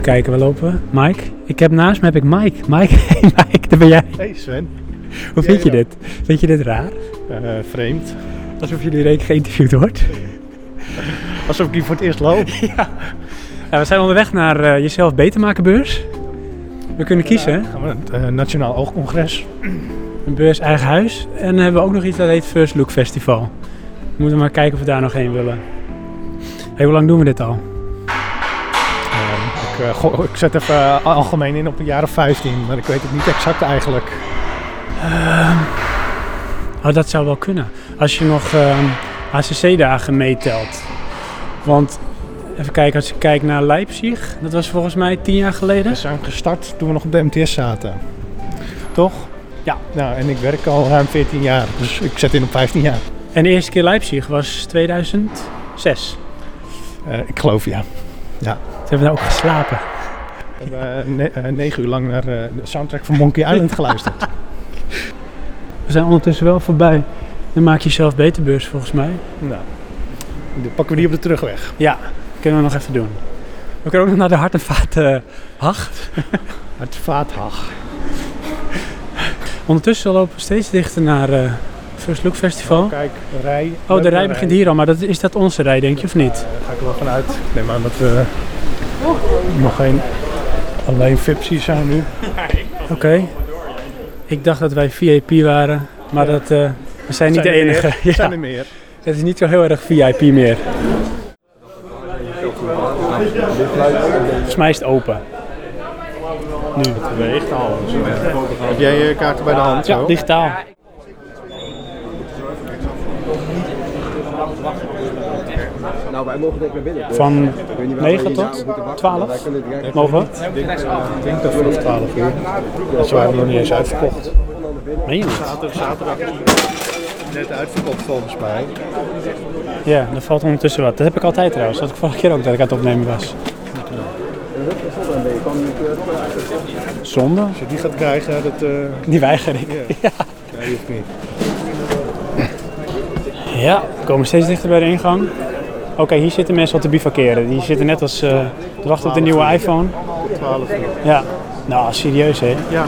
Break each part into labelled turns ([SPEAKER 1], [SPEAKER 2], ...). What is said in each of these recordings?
[SPEAKER 1] kijken, waar lopen we? Mike? Ik heb naast me heb ik Mike. Mike, hey Mike, daar ben jij.
[SPEAKER 2] Hey Sven,
[SPEAKER 1] Hoe
[SPEAKER 2] Ja,
[SPEAKER 1] vind je
[SPEAKER 2] ja.
[SPEAKER 1] dit? Vind je dit raar?
[SPEAKER 2] Eh, vreemd.
[SPEAKER 1] Alsof jullie reek geïnterviewd wordt.
[SPEAKER 2] Alsof ik hier voor het eerst loop.
[SPEAKER 1] Ja, we zijn onderweg naar eh, Jezelf Beter Maken beurs. We kunnen kiezen, hè?
[SPEAKER 2] Gaan we naar het eh, Nationaal Oogcongres.
[SPEAKER 1] Een beurs eigen huis. En dan hebben we ook nog iets dat heet First Look Festival. We moeten maar kijken of we daar nog heen willen. Hey, hoe lang doen we dit al?
[SPEAKER 2] Ehm, ik, eh, go- ik zet even eh, algemeen in op een jaar of 15, maar ik weet het niet exact eigenlijk.
[SPEAKER 1] Oh, dat zou wel kunnen. Als je nog ehm, HCC-dagen meetelt. Want even kijken, als je kijkt naar Leipzig, dat was volgens mij tien jaar geleden.
[SPEAKER 2] We zijn gestart toen we nog op de MTS zaten. Toch?
[SPEAKER 1] Ja.
[SPEAKER 2] Nou, en ik werk al ruim 14 jaar, dus ik zet in op 15 jaar.
[SPEAKER 1] En de eerste keer Leipzig was 2006.
[SPEAKER 2] Eh, ik geloof ja.
[SPEAKER 1] Toen hebben we daar ook geslapen.
[SPEAKER 2] We hebben eh, ne- eh, negen uur lang naar eh, de soundtrack van Monkey Island geluisterd.
[SPEAKER 1] We zijn ondertussen wel voorbij. Dan maak je jezelf beter beurs volgens mij.
[SPEAKER 2] nou, dan pakken we die op de terugweg.
[SPEAKER 1] Ja, kunnen we nog even doen. We kunnen ook nog naar de hart- en vaten Hag.
[SPEAKER 2] Het Vaathag.
[SPEAKER 1] Ondertussen lopen we steeds dichter naar eh First Look Festival.
[SPEAKER 2] Kijk, de rij.
[SPEAKER 1] Oh, de rij begint hier al, maar dat, is dat onze rij, denk je, of niet?
[SPEAKER 2] Daar ga ik er wel vanuit. Ik neem aan dat we nog geen alleen Fipsies zijn nu.
[SPEAKER 1] Oké. Ik dacht dat wij VIP waren, maar
[SPEAKER 2] Ja.
[SPEAKER 1] dat, eh, we zijn niet
[SPEAKER 2] Zijn
[SPEAKER 1] de
[SPEAKER 2] er meer?
[SPEAKER 1] enige. Ja,
[SPEAKER 2] Zijn er meer?
[SPEAKER 1] het is niet zo heel erg VIP meer. Volgens mij is het open.
[SPEAKER 2] Nu het weegt al. Heb jij je kaarten bij de hand?
[SPEAKER 1] Ja, digitaal.
[SPEAKER 3] Nou, wij mogen denk ik naar binnen.
[SPEAKER 1] Van
[SPEAKER 3] Ik weet niet waar
[SPEAKER 1] 9
[SPEAKER 3] wij hier
[SPEAKER 1] tot
[SPEAKER 3] moeten wachten,
[SPEAKER 1] 12?
[SPEAKER 3] wij kunnen direct-
[SPEAKER 1] mogen we?
[SPEAKER 2] Ik denk dat vanaf 12 uur. Dat waren nog niet eens uitverkocht.
[SPEAKER 1] Meen je niet?
[SPEAKER 2] Zaterdag net uitverkocht volgens mij.
[SPEAKER 1] Ja, er valt ondertussen wat. Dat heb ik altijd trouwens. Dat had ik vorige keer ook dat ik aan het opnemen was. Zonde?
[SPEAKER 2] Als je die gaat krijgen, dat... eh
[SPEAKER 1] Die weiger ik.
[SPEAKER 2] Nee, hoeft niet.
[SPEAKER 1] Ja, we komen steeds dichter bij de ingang. Oké, hier zitten mensen al te bivakeren. Die zitten net als eh, te wachten op de nieuwe iPhone.
[SPEAKER 2] 12 uur.
[SPEAKER 1] Ja, nou serieus hè.
[SPEAKER 2] Ja,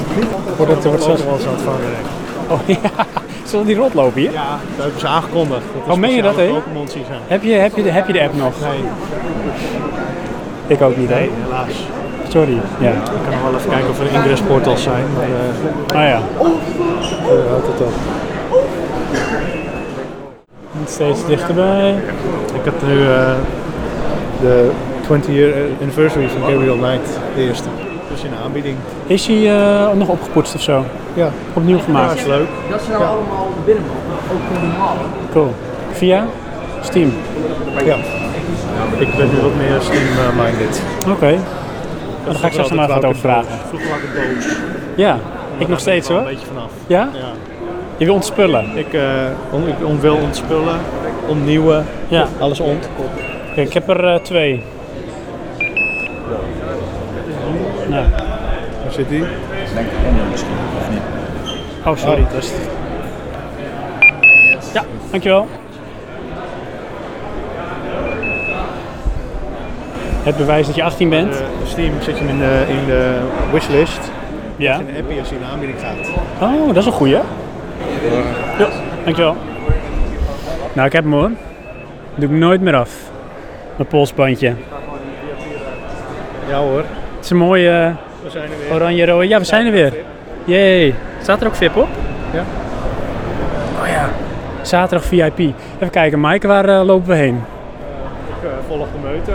[SPEAKER 1] Wordt het
[SPEAKER 2] dat
[SPEAKER 1] zelfs...
[SPEAKER 2] is wel zo vangrijk.
[SPEAKER 1] Oh ja, zullen die rondlopen hier?
[SPEAKER 2] Ja, dat hebben ze aangekondigd.
[SPEAKER 1] Oh, meen je dat, hè?
[SPEAKER 2] Pokémon zijn.
[SPEAKER 1] Heb, je, heb, je de, heb je de app nog?
[SPEAKER 2] Nee,
[SPEAKER 1] Ik ook niet hè.
[SPEAKER 2] helaas.
[SPEAKER 1] Sorry. Ja.
[SPEAKER 2] Ik kan nog wel even kijken of er ingressportals zijn. Maar, eh,
[SPEAKER 1] Oh ja.
[SPEAKER 2] eh, houdt het op.
[SPEAKER 1] Steeds dichterbij.
[SPEAKER 2] Ik heb nu eh, de 20 year anniversary van Gabriel Knight, de eerste. Dus in de aanbieding.
[SPEAKER 1] Is hij eh, nog opgepoetst of zo?
[SPEAKER 2] Ja,
[SPEAKER 1] Opnieuw
[SPEAKER 2] maar
[SPEAKER 1] gemaakt?
[SPEAKER 2] Ah, is leuk.
[SPEAKER 4] Dat ze nou allemaal binnen mogen, ook voor die halen.
[SPEAKER 1] Cool. Via? Steam.
[SPEAKER 2] Ja. Ik ben nu wat meer Steam-minded.
[SPEAKER 1] Oké. Dan ga ik straks nog maar wat over vragen.
[SPEAKER 2] Vroeger had ik een doos.
[SPEAKER 1] Ja, ik
[SPEAKER 2] Daar
[SPEAKER 1] nog steeds
[SPEAKER 2] ben ik
[SPEAKER 1] hoor.
[SPEAKER 2] wel Een beetje vanaf.
[SPEAKER 1] Ja?
[SPEAKER 2] Ja.
[SPEAKER 1] Je wil ontspullen?
[SPEAKER 2] Ik, eh, on- ik on- wil ontspullen, ontnieuwen,
[SPEAKER 1] Ja.
[SPEAKER 2] alles ont.
[SPEAKER 1] Kijk, ik heb er eh, twee. Nou.
[SPEAKER 2] Waar zit die?
[SPEAKER 1] Oh, sorry.
[SPEAKER 2] Oh.
[SPEAKER 1] Dat is het. Ja, dankjewel. Het bewijs dat je 18 bent.
[SPEAKER 2] Eh, Steam zet je hem in de, in de wishlist.
[SPEAKER 1] ja.
[SPEAKER 2] En happy als hij in de aanbieding gaat.
[SPEAKER 1] Oh, dat is een goeie. Ja, dankjewel. Nou, ik heb hem hoor. Doe ik nooit meer af. Mijn polsbandje.
[SPEAKER 2] Ja hoor,
[SPEAKER 1] Het is een mooie eh,
[SPEAKER 2] we zijn er weer.
[SPEAKER 1] oranje-rode. Ja, we zijn er weer. Jee. Staat er ook VIP op?
[SPEAKER 2] Ja.
[SPEAKER 1] Oh ja. Zaterdag VIP. Even kijken, Mike, waar eh, lopen we heen?
[SPEAKER 2] Ik eh, volg de meute.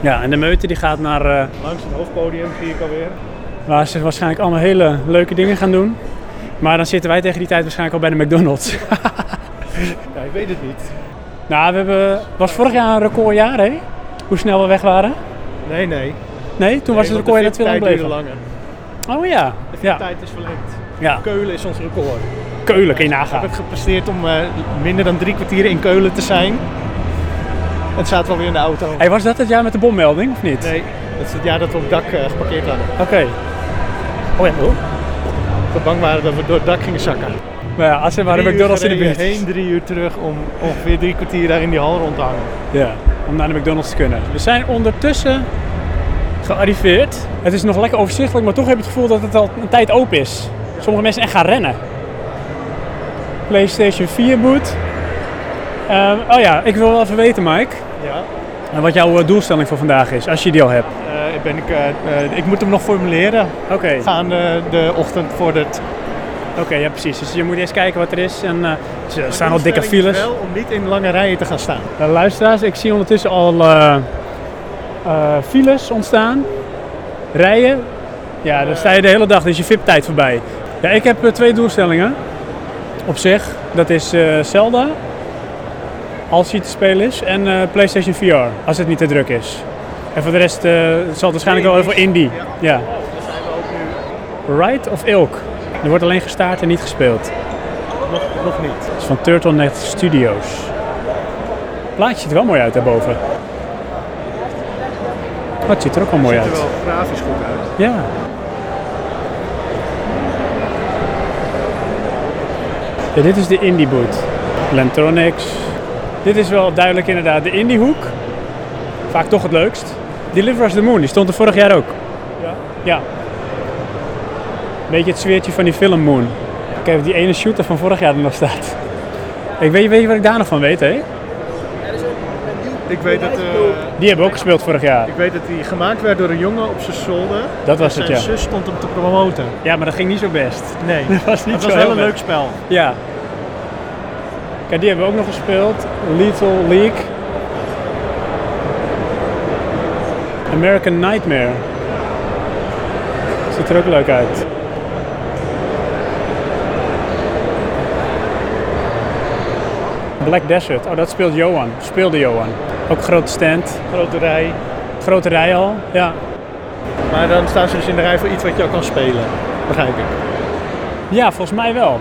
[SPEAKER 1] Ja, en de meute die gaat naar eh,
[SPEAKER 2] Langs het hoofdpodium zie ik alweer.
[SPEAKER 1] waar ze waarschijnlijk allemaal hele leuke dingen gaan doen. Maar dan zitten wij tegen die tijd waarschijnlijk al bij de McDonald's.
[SPEAKER 2] Ja, ik weet het niet.
[SPEAKER 1] nou, we hebben... Was vorig jaar een recordjaar, hè? Hoe snel we weg waren?
[SPEAKER 2] Nee, nee.
[SPEAKER 1] Nee, toen was het record dat we lang bleven.
[SPEAKER 2] langer.
[SPEAKER 1] Oh ja.
[SPEAKER 2] De
[SPEAKER 1] Ja.
[SPEAKER 2] tijd is verlengd.
[SPEAKER 1] ja.
[SPEAKER 2] Keulen is ons record. Ik
[SPEAKER 1] Keulen, kun je nagaan.
[SPEAKER 2] heb gepresteerd om eh, minder dan drie kwartier in Keulen te zijn. Het zaten wel weer in de auto.
[SPEAKER 1] Hey, was dat het jaar met de bommelding, of niet?
[SPEAKER 2] Nee, dat is het jaar dat we op het dak eh, geparkeerd hadden.
[SPEAKER 1] Oké. Oh ja, hoor.
[SPEAKER 2] Dat we bang waren dat we door het dak gingen zakken.
[SPEAKER 1] Maar ja, als er maar een
[SPEAKER 2] Drie uur
[SPEAKER 1] McDonald's in de
[SPEAKER 2] gereden
[SPEAKER 1] buurt
[SPEAKER 2] heen,
[SPEAKER 1] is.
[SPEAKER 2] drie uur terug om ongeveer drie kwartier daar in die hal rond te hangen.
[SPEAKER 1] Ja, om naar de McDonald's te kunnen. We zijn ondertussen gearriveerd. Het is nog lekker overzichtelijk, maar toch heb ik het gevoel dat het al een tijd open is. Sommige mensen echt gaan rennen. PlayStation 4 boot. Ehm, oh ja, ik wil wel even weten, Mike,
[SPEAKER 2] Ja,
[SPEAKER 1] eh, wat jouw eh, doelstelling voor vandaag is, als je die al hebt.
[SPEAKER 2] eh, ben ik, eh, eh, ik moet hem nog formuleren
[SPEAKER 1] Oké,
[SPEAKER 2] gaande de ochtend voor het.
[SPEAKER 1] oké, ja precies. Dus je moet eerst kijken wat er is. En, eh, er staan al dikke files.
[SPEAKER 2] Wel om niet in lange rijen te gaan staan.
[SPEAKER 1] Eh, luisteraars, ik zie ondertussen al eh, eh, files ontstaan, rijen. Ja, dan sta je de hele dag, dus je VIP-tijd voorbij. Ja, ik heb eh, twee doelstellingen op zich. Dat is eh, Zelda, als die te spelen is, en eh, PlayStation VR, als het niet te druk is. En voor de rest eh, zal het waarschijnlijk wel heel veel indie. Ja. Ride of Ilk? Er wordt alleen gestaard en niet gespeeld.
[SPEAKER 2] Nog, nog niet.
[SPEAKER 1] Het is van Turtleneck Studios. Plaatje ziet er wel mooi uit daarboven. Oh, het ziet er ook wel mooi
[SPEAKER 2] Ziet er
[SPEAKER 1] uit.
[SPEAKER 2] wel grafisch goed uit.
[SPEAKER 1] Ja. ja. Dit is de indie boot. Lentronics. Dit is wel duidelijk inderdaad de indie hoek. Vaak toch het leukst. Deliver Us the Moon, die stond er vorig jaar ook.
[SPEAKER 2] Ja?
[SPEAKER 1] Ja. Beetje het zweertje van die film Moon. Ik heb die ene shooter van vorig jaar er nog staat. Ik weet, weet je wat ik daar nog van weet, hè?
[SPEAKER 2] Ik weet dat. eh,
[SPEAKER 1] Die hebben we ook gespeeld vorig jaar.
[SPEAKER 2] Ik weet dat hij gemaakt werd door een jongen op zijn zolder.
[SPEAKER 1] Dat was
[SPEAKER 2] Zijn
[SPEAKER 1] het, ja.
[SPEAKER 2] zus stond hem te promoten.
[SPEAKER 1] Ja, maar dat ging niet zo best.
[SPEAKER 2] Nee,
[SPEAKER 1] Dat was niet
[SPEAKER 2] het
[SPEAKER 1] zo
[SPEAKER 2] was
[SPEAKER 1] heel
[SPEAKER 2] wel een
[SPEAKER 1] best.
[SPEAKER 2] leuk spel.
[SPEAKER 1] Ja. Kijk, die hebben we ook nog gespeeld. Lethal League. American Nightmare. Ziet er ook leuk uit. Black Desert. Oh, dat speelt Johan. Speelde Johan. Ook grote stand.
[SPEAKER 2] Grote rij.
[SPEAKER 1] Grote rij al. Ja.
[SPEAKER 2] Maar dan staan ze dus in de rij voor iets wat je al kan spelen. Begrijp ik.
[SPEAKER 1] Ja, volgens mij wel.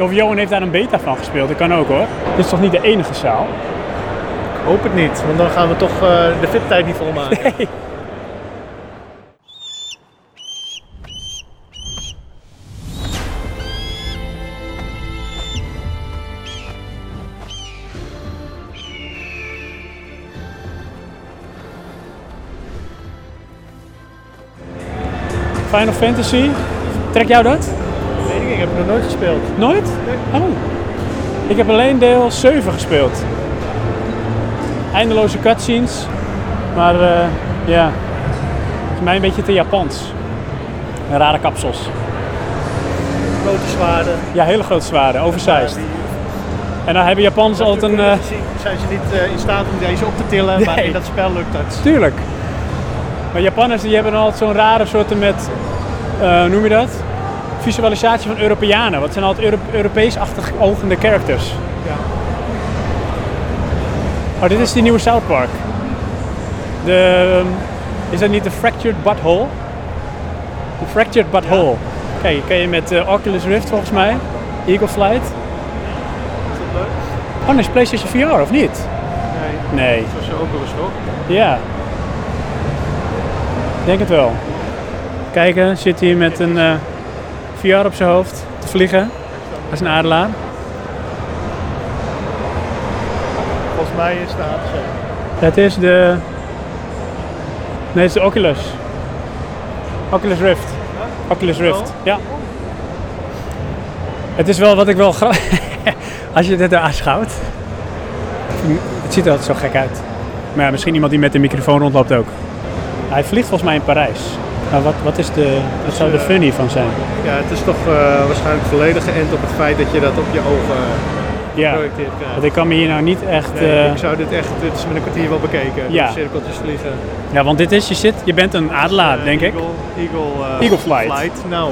[SPEAKER 1] Of Johan heeft daar een beta van gespeeld. Dat kan ook hoor. Dit is toch niet de enige zaal?
[SPEAKER 2] Ik hoop het niet, want dan gaan we toch eh, de VIP-tijd niet volmaken.
[SPEAKER 1] Final Fantasy. Trek jou dat?
[SPEAKER 2] Weet ik, ik heb het nog nooit gespeeld.
[SPEAKER 1] Nooit? Oh. Ik heb alleen deel 7 gespeeld. Eindeloze cutscenes. Maar eh, ja, het is mij een beetje te Japans. En rare kapsels.
[SPEAKER 2] Grote zwaarden.
[SPEAKER 1] Ja, hele grote zwaarden, oversized. En dan hebben Japans altijd een... eh,
[SPEAKER 2] Zijn ze niet eh, in staat om deze op te tillen, maar
[SPEAKER 1] Nee.
[SPEAKER 2] in dat spel lukt dat.
[SPEAKER 1] Tuurlijk. Maar Japanners die hebben altijd zo'n rare soorten met, eh, hoe noem je dat? Visualisatie van Europeanen. Wat zijn altijd Euro- Europees-achtig ogende characters.
[SPEAKER 2] Ja.
[SPEAKER 1] Oh, dit is die nieuwe South Park. De, ehm, is dat niet de Fractured Butthole? De Fractured Butthole. Kijk, kan je met eh, Oculus Rift volgens mij, Eagle Flight.
[SPEAKER 2] Is dat leuk?
[SPEAKER 1] Oh, dan is PlayStation VR of niet?
[SPEAKER 2] Nee,
[SPEAKER 1] Nee.
[SPEAKER 2] dat was ook wel eens toch?
[SPEAKER 1] Ja. Ik Denk het wel. Kijken, zit hier met een eh, VR op zijn hoofd te vliegen. Als een adelaar.
[SPEAKER 2] Volgens mij is het zo.
[SPEAKER 1] Het is de. Nee, het is de Oculus. Oculus Rift. Oculus Rift,
[SPEAKER 2] Oh.
[SPEAKER 1] ja. Het is wel wat ik wel gra- Als je dit aanschouwt. Het ziet er altijd zo gek uit. Maar ja, misschien iemand die met de microfoon rondloopt ook. Hij vliegt volgens mij in Parijs. Maar wat, wat, is de, wat zou de funny van zijn?
[SPEAKER 2] Ja, het is toch eh, waarschijnlijk volledig geënt op het feit dat je dat op je ogen eh,
[SPEAKER 1] Ja,
[SPEAKER 2] projecteert eh. krijgt.
[SPEAKER 1] want ik kan me hier nou niet echt...
[SPEAKER 2] Nee,
[SPEAKER 1] eh,
[SPEAKER 2] ik zou dit echt, dit is met een kwartier wel bekeken.
[SPEAKER 1] Ja.
[SPEAKER 2] Ja. Cirkeltjes vliegen.
[SPEAKER 1] Ja, want dit is, je zit, je bent een adelaar,
[SPEAKER 2] Eh,
[SPEAKER 1] denk ik.
[SPEAKER 2] Eagle, Eagle, eh,
[SPEAKER 1] Eagle flight.
[SPEAKER 2] Nou,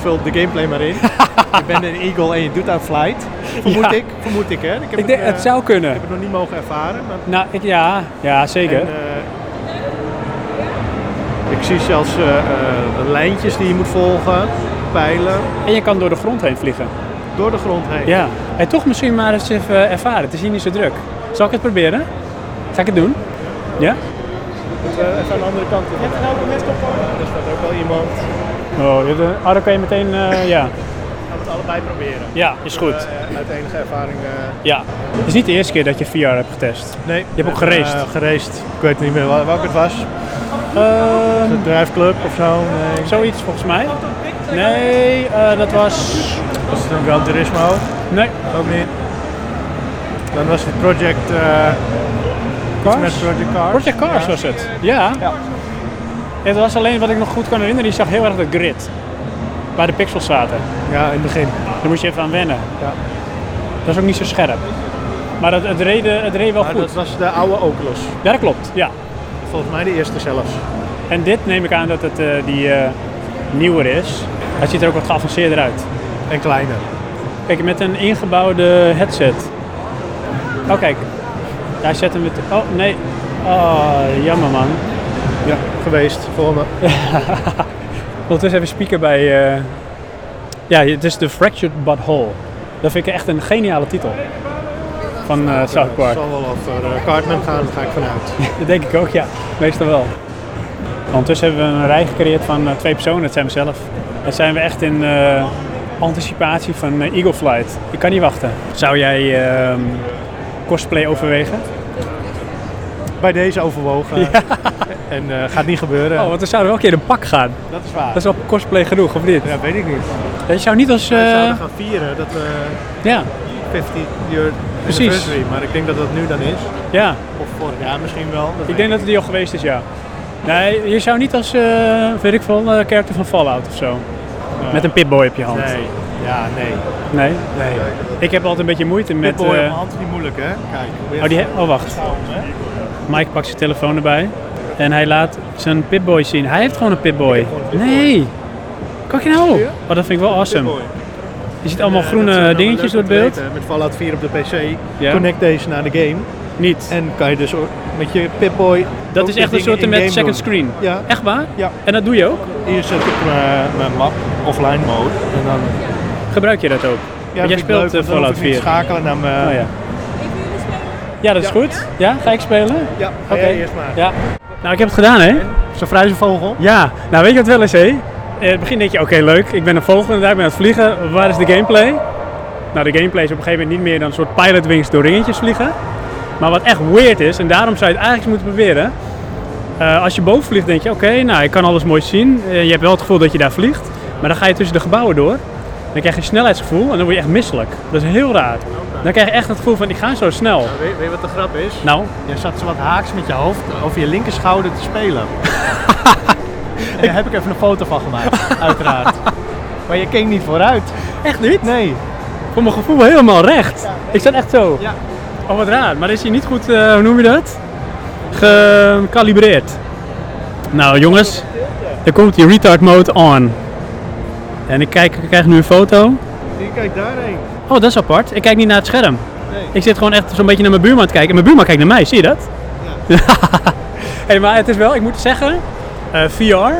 [SPEAKER 2] vul de gameplay maar in. je bent een eagle en je doet aan flight. Vermoed
[SPEAKER 1] Ja.
[SPEAKER 2] ik, vermoed ik hè. Ik heb
[SPEAKER 1] Ik denk,
[SPEAKER 2] eh,
[SPEAKER 1] het zou kunnen.
[SPEAKER 2] Ik heb het nog niet mogen ervaren. Maar,
[SPEAKER 1] Nou, ik, ja, ja, zeker.
[SPEAKER 2] en, eh, ik zie zelfs eh, eh, lijntjes die je moet volgen, pijlen,
[SPEAKER 1] En je kan door de grond heen vliegen.
[SPEAKER 2] door de grond heen.
[SPEAKER 1] Ja. En toch misschien maar eens even eh, ervaren. Het is hier niet zo druk. Zal ik het proberen? Ga ik het doen? Ja?
[SPEAKER 2] Dus, eh, even aan de andere kant. Heb je nou ook een Er staat ook wel iemand.
[SPEAKER 1] Oh, dit, eh, oh dan kan je meteen... eh, ja.
[SPEAKER 2] Gaan we het allebei proberen.
[SPEAKER 1] ja, is goed.
[SPEAKER 2] Eh, uit enige ervaring. eh,
[SPEAKER 1] Ja. Het is niet de eerste keer dat je VR hebt getest.
[SPEAKER 2] Nee. eh,
[SPEAKER 1] hebt ook geraced.
[SPEAKER 2] geraced. Ik weet niet meer wa- welke het was.
[SPEAKER 1] Ehm,
[SPEAKER 2] Een drijfclub of zo? Nee.
[SPEAKER 1] zoiets volgens mij. Nee, eh, dat was...
[SPEAKER 2] Was het een Gran Turismo?
[SPEAKER 1] Nee,
[SPEAKER 2] Ook niet. Dan was het Project, eh, iets met
[SPEAKER 1] Cars?
[SPEAKER 2] Project Cars.
[SPEAKER 1] Project Cars
[SPEAKER 2] Ja.
[SPEAKER 1] was het. Ja.
[SPEAKER 2] Ja.
[SPEAKER 1] Het was alleen wat ik nog goed kan herinneren, die zag heel erg de grid. Waar de pixels zaten.
[SPEAKER 2] Ja, in het begin.
[SPEAKER 1] Daar moest je even aan wennen.
[SPEAKER 2] Ja.
[SPEAKER 1] Dat is ook niet zo scherp. Maar het, het, reed, eh, het reed wel
[SPEAKER 2] Maar
[SPEAKER 1] goed.
[SPEAKER 2] dat was de oude Oculus.
[SPEAKER 1] Ja, dat klopt. Ja.
[SPEAKER 2] Volgens mij de eerste zelfs.
[SPEAKER 1] En dit neem ik aan dat het eh, die eh, nieuwer is. Hij ziet er ook wat geavanceerder uit.
[SPEAKER 2] En kleiner.
[SPEAKER 1] Kijk, met een ingebouwde headset. Oh, kijk. Hij zet hem met... Oh, nee. Oh, jammer man.
[SPEAKER 2] Ja, geweest. Volgende.
[SPEAKER 1] Ondertussen dus even spieken bij... eh, Ja, het is The Fractured But Whole. Dat vind ik echt een geniale titel. Van eh South
[SPEAKER 2] Het
[SPEAKER 1] Park.
[SPEAKER 2] zal wel over eh, Cartman gaan, daar ga ik vanuit.
[SPEAKER 1] Dat denk ik ook, ja. Meestal wel. Ondertussen hebben we een rij gecreëerd van eh, twee personen. Het zijn we zelf. En zijn we echt in eh, anticipatie van eh, Eagle Flight. Ik kan niet wachten. Zou jij ehm, cosplay overwegen?
[SPEAKER 2] Bij deze overwogen. En eh, gaat niet gebeuren.
[SPEAKER 1] Oh, want we zouden wel een keer een pak gaan.
[SPEAKER 2] dat is waar.
[SPEAKER 1] Dat is wel cosplay genoeg, of niet?
[SPEAKER 2] Ja, weet ik niet.
[SPEAKER 1] Je zou niet als...
[SPEAKER 2] We
[SPEAKER 1] eh,
[SPEAKER 2] zouden gaan vieren dat we
[SPEAKER 1] ja,
[SPEAKER 2] 50 year
[SPEAKER 1] Precies.
[SPEAKER 2] anniversary. Maar ik denk dat dat nu dan is.
[SPEAKER 1] ja.
[SPEAKER 2] Of vorig jaar misschien wel. dat
[SPEAKER 1] Ik
[SPEAKER 2] weet
[SPEAKER 1] denk dat het die al geweest is, ja. Nee, je zou niet als, eh weet ik veel, eh character van Fallout of zo. Met een Pip-Boy op je hand.
[SPEAKER 2] Nee. Ja, nee.
[SPEAKER 1] Nee?
[SPEAKER 2] Nee.
[SPEAKER 1] Ik heb altijd een beetje moeite met...
[SPEAKER 2] Met boy op
[SPEAKER 1] eh,
[SPEAKER 2] mijn hand is niet moeilijk, hè? Kijk. moet je
[SPEAKER 1] Oh, die
[SPEAKER 2] even-
[SPEAKER 1] he- oh, wacht.
[SPEAKER 2] hè?
[SPEAKER 1] Mike pakt zijn telefoon erbij. En hij laat zijn Pipboy zien. Hij heeft gewoon een Pipboy. Nee. Kijk nou. Oh, dat vind ik wel awesome.
[SPEAKER 2] Boy.
[SPEAKER 1] Je ziet allemaal
[SPEAKER 2] Eh, dat is
[SPEAKER 1] groene
[SPEAKER 2] wel
[SPEAKER 1] dingetjes
[SPEAKER 2] leuk
[SPEAKER 1] door het
[SPEAKER 2] om te
[SPEAKER 1] beeld.
[SPEAKER 2] weten. Met Fallout 4 op de PC
[SPEAKER 1] Ja.
[SPEAKER 2] connect deze naar de game.
[SPEAKER 1] Niet.
[SPEAKER 2] En kan je dus ook met je Pip-Boy.
[SPEAKER 1] Dat
[SPEAKER 2] ook
[SPEAKER 1] is
[SPEAKER 2] de
[SPEAKER 1] echt een
[SPEAKER 2] dingen
[SPEAKER 1] soort
[SPEAKER 2] in
[SPEAKER 1] met
[SPEAKER 2] game
[SPEAKER 1] second
[SPEAKER 2] doen.
[SPEAKER 1] screen.
[SPEAKER 2] Ja.
[SPEAKER 1] Echt waar?
[SPEAKER 2] Ja.
[SPEAKER 1] En dat doe je ook?
[SPEAKER 2] Hier zet ik mijn, mijn map offline mode. En dan,
[SPEAKER 1] Gebruik je dat ook?
[SPEAKER 2] dat
[SPEAKER 1] Want jij
[SPEAKER 2] vind ik leuk,
[SPEAKER 1] speelt
[SPEAKER 2] want
[SPEAKER 1] eh,
[SPEAKER 2] dan
[SPEAKER 1] Fallout
[SPEAKER 2] hoef ik niet
[SPEAKER 1] 4.
[SPEAKER 2] schakelen naar mijn.
[SPEAKER 1] Oh, ja. ja, dat is
[SPEAKER 2] Ja.
[SPEAKER 1] goed. Ja, ga ik spelen?
[SPEAKER 2] Ja, ga
[SPEAKER 1] Oké.
[SPEAKER 2] jij eerst maar.
[SPEAKER 1] Ja. Nou, ik heb het gedaan, hè?
[SPEAKER 2] Zo'n fruizenvogel.
[SPEAKER 1] Ja, nou weet je wat wel is, hè? In het begin denk je, oké, leuk, ik ben een vogel en daar ben ik aan het vliegen. Waar is de gameplay? Nou, de gameplay is op een gegeven moment niet meer dan een soort pilot wings door ringetjes vliegen. Maar wat echt weird is, en daarom zou je het eigenlijk eens moeten proberen. eh, als je boven vliegt, denk je, oké, nou, ik kan alles mooi zien. Eh, je hebt wel het gevoel dat je daar vliegt. Maar dan ga je tussen de gebouwen door. Dan krijg je een snelheidsgevoel en dan word je echt misselijk. Dat is heel raar. Dan krijg je echt het gevoel van, ik ga zo snel.
[SPEAKER 2] Weet, weet je wat de grap is?
[SPEAKER 1] Nou,
[SPEAKER 2] Je zat zo wat haaks met je hoofd over je linkerschouder te spelen. en daar heb ik even een foto van gemaakt, uiteraard. Maar je keek niet vooruit.
[SPEAKER 1] echt niet?
[SPEAKER 2] Nee.
[SPEAKER 1] Voor mijn gevoel helemaal recht. Ik zat echt zo.
[SPEAKER 2] Ja.
[SPEAKER 1] Oh, wat raar. Maar is hij niet goed, eh, hoe noem je dat? Gekalibreerd. Nou, jongens. Er komt die retard mode on. En ik, kijk, ik krijg nu een foto.
[SPEAKER 2] Hier, kijk daarheen.
[SPEAKER 1] Oh, dat is apart. Ik kijk niet naar het scherm.
[SPEAKER 2] Nee.
[SPEAKER 1] Ik zit gewoon echt zo'n beetje naar mijn buurman te kijken. En mijn buurman kijkt naar mij, zie je dat? hey, maar het is wel, ik moet zeggen, eh, VR,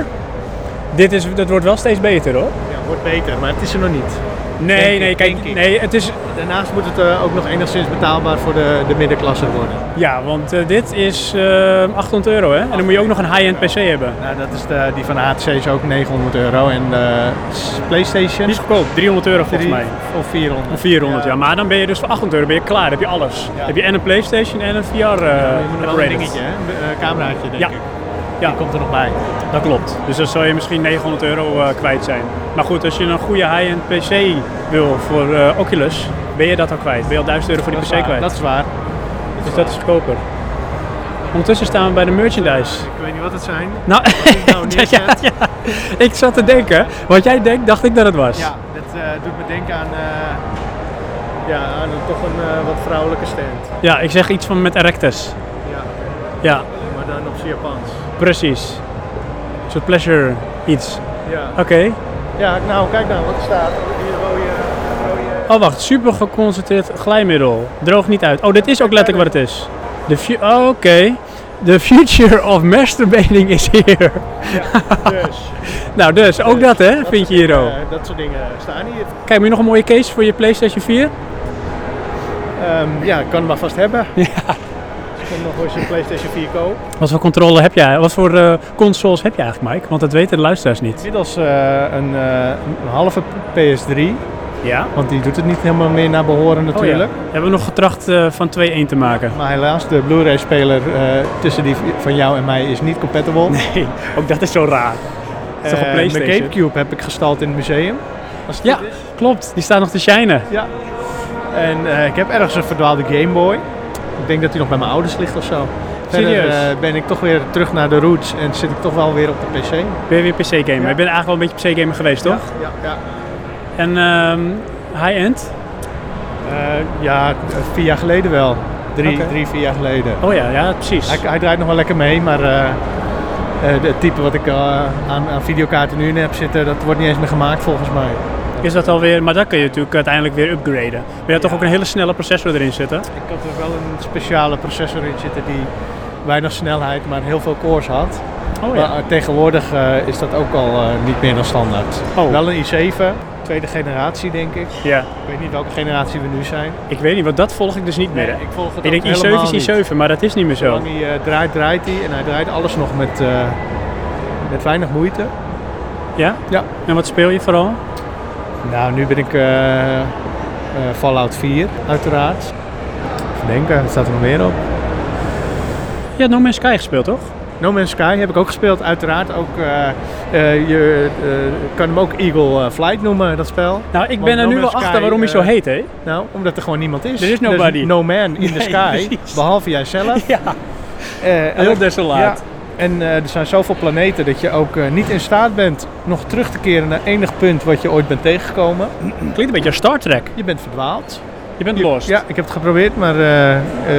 [SPEAKER 1] dit is, dat wordt wel steeds beter hoor.
[SPEAKER 2] Ja, wordt beter, maar het is er nog niet.
[SPEAKER 1] Nee,
[SPEAKER 2] Denk ik,
[SPEAKER 1] nee,
[SPEAKER 2] denk
[SPEAKER 1] kijk,
[SPEAKER 2] ik.
[SPEAKER 1] nee, het is,
[SPEAKER 2] Daarnaast moet het eh, ook nog enigszins betaalbaar voor de, de middenklasse worden.
[SPEAKER 1] Ja, want eh, dit is eh, 800 euro hè. En dan moet je ook nog een high-end PC hebben.
[SPEAKER 2] Nou, dat is de, die van HTC is ook 900 euro en de PlayStation
[SPEAKER 1] Die is goedkoop, 300 euro volgens
[SPEAKER 2] drie
[SPEAKER 1] mij.
[SPEAKER 2] of 400.
[SPEAKER 1] Of 400, ja. Maar dan ben je dus voor 800 euro ben je klaar. Dan heb je alles.
[SPEAKER 2] Ja.
[SPEAKER 1] Heb je en een PlayStation en een VR. eh
[SPEAKER 2] je moet nog wel een dingetje, hè? Een eh, cameraatje denk
[SPEAKER 1] Ja.
[SPEAKER 2] ik.
[SPEAKER 1] Ja.
[SPEAKER 2] Die komt er nog bij.
[SPEAKER 1] Dat klopt. Dus dan zal je misschien 900 euro eh, kwijt zijn. Maar goed, als je een goede high-end PC wil voor eh, Oculus, ben je dat al kwijt. Ben je al 1000 euro voor die
[SPEAKER 2] dat, is
[SPEAKER 1] PC
[SPEAKER 2] waar,
[SPEAKER 1] kwijt.
[SPEAKER 2] dat is waar.
[SPEAKER 1] dus dat is goedkoper. Ondertussen staan we bij de merchandise.
[SPEAKER 2] Ik weet niet wat het zijn.
[SPEAKER 1] Nou,
[SPEAKER 2] ik nou
[SPEAKER 1] ja, ja,
[SPEAKER 2] neerzet.
[SPEAKER 1] ja. ik zat te denken. Wat jij denkt, dacht ik dat het was.
[SPEAKER 2] Ja, dat eh, doet me denken aan, eh, ja, aan een, toch een eh, wat vrouwelijke stand.
[SPEAKER 1] Ja, ik zeg iets van met Erectus.
[SPEAKER 2] Ja,
[SPEAKER 1] Ja,
[SPEAKER 2] maar dan op z'n Japans.
[SPEAKER 1] precies. Een soort pleasure iets.
[SPEAKER 2] Ja.
[SPEAKER 1] Oké.
[SPEAKER 2] ja, nou kijk nou wat er staat. Hier rode, rode...
[SPEAKER 1] Oh, wacht. Super geconcentreerd glijmiddel. Droog niet uit. Oh, dit is ook letterlijk wat het is. The fu- oh, Oké. The future of masturbating is here.
[SPEAKER 2] Dus,
[SPEAKER 1] Nou, dus ook dat hè, vind
[SPEAKER 2] soort
[SPEAKER 1] je hier ook.
[SPEAKER 2] dingen, eh, dat soort dingen staan hier.
[SPEAKER 1] Kijk, moet je nog een mooie case voor je PlayStation 4?
[SPEAKER 2] Ehm, ja, ik kan hem maar vast hebben. Ja. Dus kom nog eens een PlayStation 4 koop.
[SPEAKER 1] Wat voor controle heb jij? Wat voor eh, consoles heb je eigenlijk, Mike? Want dat weten de luisteraars niet.
[SPEAKER 2] Inmiddels eh, een, eh, een halve PS3
[SPEAKER 1] Ja?
[SPEAKER 2] Want die doet het niet helemaal meer naar behoren natuurlijk.
[SPEAKER 1] Oh, ja. Hebben we nog getracht eh, van 2-1 te maken.
[SPEAKER 2] Maar helaas, de Blu-ray-speler eh, tussen die van jou en mij is niet compatible.
[SPEAKER 1] Nee, ook dat is zo raar. Het is toch een
[SPEAKER 2] Eh,
[SPEAKER 1] Playstation?
[SPEAKER 2] Mijn Gamecube heb ik gestald in het museum. Als het
[SPEAKER 1] Ja,
[SPEAKER 2] goed is.
[SPEAKER 1] klopt. Die staat nog te shinen.
[SPEAKER 2] ja. En eh, ik heb ergens een verdwaalde Game Boy. Ik denk dat die nog bij mijn ouders ligt of zo. Verder
[SPEAKER 1] Serieus?
[SPEAKER 2] eh, ben ik toch weer terug naar de roots en zit ik toch wel weer op de PC.
[SPEAKER 1] Weer weer PC-gamer.
[SPEAKER 2] Ja.
[SPEAKER 1] Ik ben eigenlijk wel een beetje PC-gamer geweest, toch?
[SPEAKER 2] Ja, ja.
[SPEAKER 1] En ehm, high-end?
[SPEAKER 2] Eh, ja, eh, vier jaar geleden wel. Drie,
[SPEAKER 1] Oké.
[SPEAKER 2] drie vier jaar geleden.
[SPEAKER 1] Oh ja, ja, precies.
[SPEAKER 2] Hij, hij draait nog wel lekker mee, maar eh, eh, het type wat ik eh, aan, aan videokaarten nu in heb zitten, dat wordt niet eens meer gemaakt volgens mij.
[SPEAKER 1] Is dat alweer, maar dat kun je natuurlijk uiteindelijk weer upgraden. Maar je had toch ook een hele snelle processor erin zitten?
[SPEAKER 2] Ik had er wel een speciale processor in zitten die weinig snelheid, maar heel veel cores had.
[SPEAKER 1] Oh
[SPEAKER 2] Maar, eh, tegenwoordig eh, is dat ook al eh, niet meer dan standaard.
[SPEAKER 1] Oh.
[SPEAKER 2] Wel een i7, tweede generatie denk ik.
[SPEAKER 1] Ja,
[SPEAKER 2] Ik weet niet welke generatie we nu zijn.
[SPEAKER 1] ik weet niet, want dat volg ik dus niet meer. hè.
[SPEAKER 2] ik volg het
[SPEAKER 1] ik denk
[SPEAKER 2] ook
[SPEAKER 1] i7
[SPEAKER 2] helemaal
[SPEAKER 1] is
[SPEAKER 2] niet.
[SPEAKER 1] i7, maar dat is niet meer zo.
[SPEAKER 2] Zolang hij eh, draait, draait hij. En hij draait alles nog met, eh, met weinig moeite.
[SPEAKER 1] Ja?
[SPEAKER 2] Ja.
[SPEAKER 1] En wat speel je vooral?
[SPEAKER 2] Nou, nu ben ik eh, eh, Fallout 4, uiteraard. Even denken, wat staat er nog meer op?
[SPEAKER 1] Je had No Man's Sky gespeeld, toch?
[SPEAKER 2] No Man's Sky heb ik ook gespeeld, uiteraard. Ook, eh, eh, je eh, kan hem ook Eagle eh, Flight noemen, dat spel.
[SPEAKER 1] Nou, ik
[SPEAKER 2] Want
[SPEAKER 1] ben er
[SPEAKER 2] No
[SPEAKER 1] nu wel
[SPEAKER 2] Man's
[SPEAKER 1] achter
[SPEAKER 2] Sky,
[SPEAKER 1] waarom hij zo
[SPEAKER 2] eh,
[SPEAKER 1] heet, hè?
[SPEAKER 2] Nou, omdat er gewoon niemand is. Dus
[SPEAKER 1] Er is nobody.
[SPEAKER 2] no man in the
[SPEAKER 1] Nee,
[SPEAKER 2] sky,
[SPEAKER 1] precies.
[SPEAKER 2] behalve jijzelf.
[SPEAKER 1] Ja,
[SPEAKER 2] Eh,
[SPEAKER 1] heel
[SPEAKER 2] elk-
[SPEAKER 1] desolaat.
[SPEAKER 2] Ja. En eh, er zijn zoveel planeten dat je ook eh, niet in staat bent nog terug te keren naar enig punt wat je ooit bent tegengekomen.
[SPEAKER 1] Klinkt een beetje als Star Trek.
[SPEAKER 2] Je bent verdwaald.
[SPEAKER 1] Je bent
[SPEAKER 2] Je-
[SPEAKER 1] lost.
[SPEAKER 2] Ja, ik heb het geprobeerd, maar eh, eh,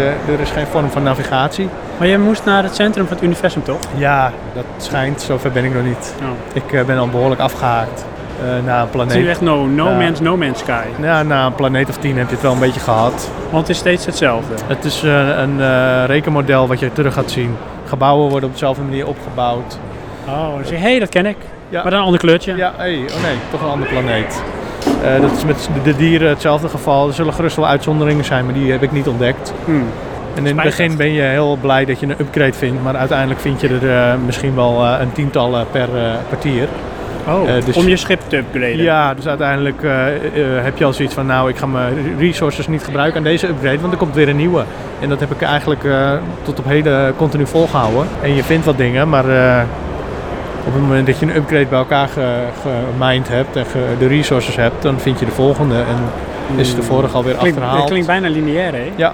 [SPEAKER 2] er is geen vorm van navigatie.
[SPEAKER 1] Maar je moest naar het centrum van het universum, toch?
[SPEAKER 2] Ja, dat schijnt. Zover ben ik nog niet.
[SPEAKER 1] Oh.
[SPEAKER 2] Ik eh, ben al behoorlijk afgehaakt eh naar een
[SPEAKER 1] Het is nu
[SPEAKER 2] planeet.
[SPEAKER 1] echt no, no
[SPEAKER 2] Ja.
[SPEAKER 1] man's no man's sky.
[SPEAKER 2] Ja, na een planeet of tien heb je het wel een beetje gehad.
[SPEAKER 1] Want het is steeds hetzelfde.
[SPEAKER 2] Het is eh, een eh, rekenmodel wat je terug gaat zien. Gebouwen worden op dezelfde manier opgebouwd.
[SPEAKER 1] Oh, dan zeg je, hé, dat ken ik.
[SPEAKER 2] Ja.
[SPEAKER 1] Maar dan een ander kleurtje.
[SPEAKER 2] Ja, hey, oh nee, toch een ander planeet. Eh, dat is met de dieren hetzelfde geval. Er zullen gerust wel uitzonderingen zijn, maar die heb ik niet ontdekt.
[SPEAKER 1] Hmm.
[SPEAKER 2] En in het begin ben je heel blij dat je een upgrade vindt, maar uiteindelijk vind je er eh, misschien wel eh, een tiental eh, per eh, kwartier.
[SPEAKER 1] Oh,
[SPEAKER 2] Eh, dus-
[SPEAKER 1] om je schip te upgraden.
[SPEAKER 2] Ja, dus uiteindelijk eh, eh, heb je al zoiets van, nou, ik ga mijn resources niet gebruiken aan deze upgrade, want er komt weer een nieuwe. En dat heb ik eigenlijk eh, tot op heden continu volgehouden. En je vindt wat dingen, maar eh, op het moment dat je een upgrade bij elkaar ge- gemind hebt en ge- de resources hebt, dan vind je de volgende en is de vorige alweer
[SPEAKER 1] Klinkt, het
[SPEAKER 2] achterhaald.
[SPEAKER 1] klinkt bijna lineair, hè?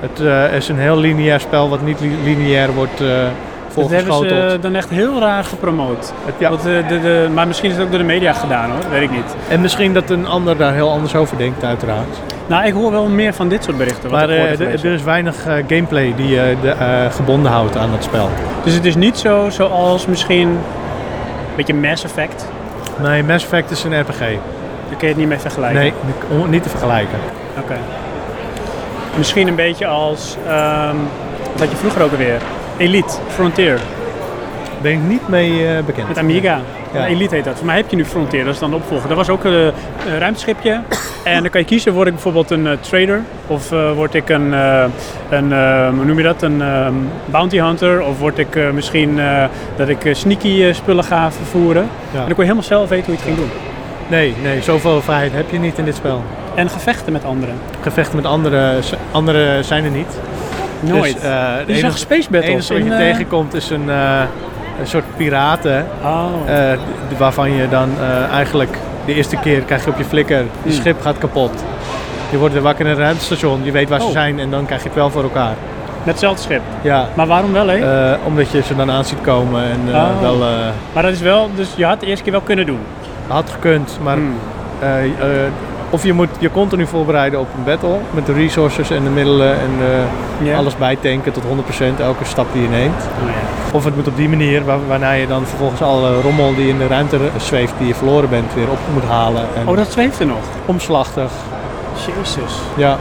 [SPEAKER 2] Het eh, is een heel lineair spel wat niet li- lineair wordt eh
[SPEAKER 1] Dat hebben
[SPEAKER 2] volgeschoteld.
[SPEAKER 1] ze eh, dan echt heel raar gepromoot.
[SPEAKER 2] Het- ja.
[SPEAKER 1] Want, eh, de, de, maar misschien is het ook door de media gedaan, hoor. Weet ik niet.
[SPEAKER 2] En misschien dat een ander daar heel anders over denkt, uiteraard.
[SPEAKER 1] Nou, ik hoor wel meer van dit soort berichten. Wat
[SPEAKER 2] Maar
[SPEAKER 1] ik
[SPEAKER 2] eh,
[SPEAKER 1] hoorde
[SPEAKER 2] d-
[SPEAKER 1] gelezen.
[SPEAKER 2] er is weinig eh, gameplay die je de, eh, gebonden houdt aan het spel.
[SPEAKER 1] Dus het is niet zo zoals misschien een beetje Mass Effect.
[SPEAKER 2] Nee, Mass Effect is een RPG.
[SPEAKER 1] Daar kun je het niet mee vergelijken.
[SPEAKER 2] Nee, on- niet te vergelijken.
[SPEAKER 1] Oké. Misschien een beetje als, ehm wat had je vroeger ook alweer? Elite, Frontier,
[SPEAKER 2] Ben ik niet mee eh, bekend.
[SPEAKER 1] met Amiga.
[SPEAKER 2] Ja.
[SPEAKER 1] Elite heet dat. Voor mij heb je nu Frontier, dat is dan de opvolger. Dat was ook eh, een ruimteschipje. en dan kan je kiezen, word ik bijvoorbeeld een eh, trader? Of eh, word ik een, eh, een eh, hoe noem je dat, een ehm, bounty hunter? Of word ik eh, misschien eh, dat ik eh, sneaky eh, spullen ga vervoeren?
[SPEAKER 2] Ja.
[SPEAKER 1] En dan kon je helemaal zelf weten hoe je het ging doen.
[SPEAKER 2] Nee, nee, zoveel vrijheid heb je niet in dit spel.
[SPEAKER 1] En gevechten met anderen.
[SPEAKER 2] Gevechten met anderen, z- anderen zijn er niet.
[SPEAKER 1] Nooit.
[SPEAKER 2] Dus, eh,
[SPEAKER 1] je
[SPEAKER 2] het
[SPEAKER 1] zag
[SPEAKER 2] enige,
[SPEAKER 1] Space
[SPEAKER 2] het
[SPEAKER 1] Battles.
[SPEAKER 2] enige wat
[SPEAKER 1] in,
[SPEAKER 2] je
[SPEAKER 1] eh,
[SPEAKER 2] tegenkomt is een, eh, een soort piraten.
[SPEAKER 1] Oh.
[SPEAKER 2] eh, d- waarvan je dan eh, eigenlijk de eerste keer krijg je op je flikker. Je
[SPEAKER 1] Hmm.
[SPEAKER 2] schip gaat kapot. Je wordt weer wakker in een ruimtestation. Je weet waar ze
[SPEAKER 1] Oh.
[SPEAKER 2] zijn en dan krijg je het wel voor elkaar.
[SPEAKER 1] Met hetzelfde schip.
[SPEAKER 2] Ja.
[SPEAKER 1] Maar waarom wel, hè?
[SPEAKER 2] Eh, omdat je ze dan aan ziet komen en eh,
[SPEAKER 1] Oh.
[SPEAKER 2] wel eh,
[SPEAKER 1] maar dat is wel, dus je had de eerste keer wel kunnen doen.
[SPEAKER 2] had gekund. Maar
[SPEAKER 1] Hmm.
[SPEAKER 2] eh, eh, of je moet je continu voorbereiden op een battle met de resources en de middelen en eh,
[SPEAKER 1] Ja.
[SPEAKER 2] alles bijtanken tot 100% elke stap die je neemt.
[SPEAKER 1] Oh, ja.
[SPEAKER 2] Of het moet op die manier waar, waarna je dan vervolgens alle rommel die in de ruimte re- zweeft die je verloren bent weer op moet halen. En
[SPEAKER 1] oh, dat zweeft er nog.
[SPEAKER 2] omslachtig.
[SPEAKER 1] Jezus.
[SPEAKER 2] Ja,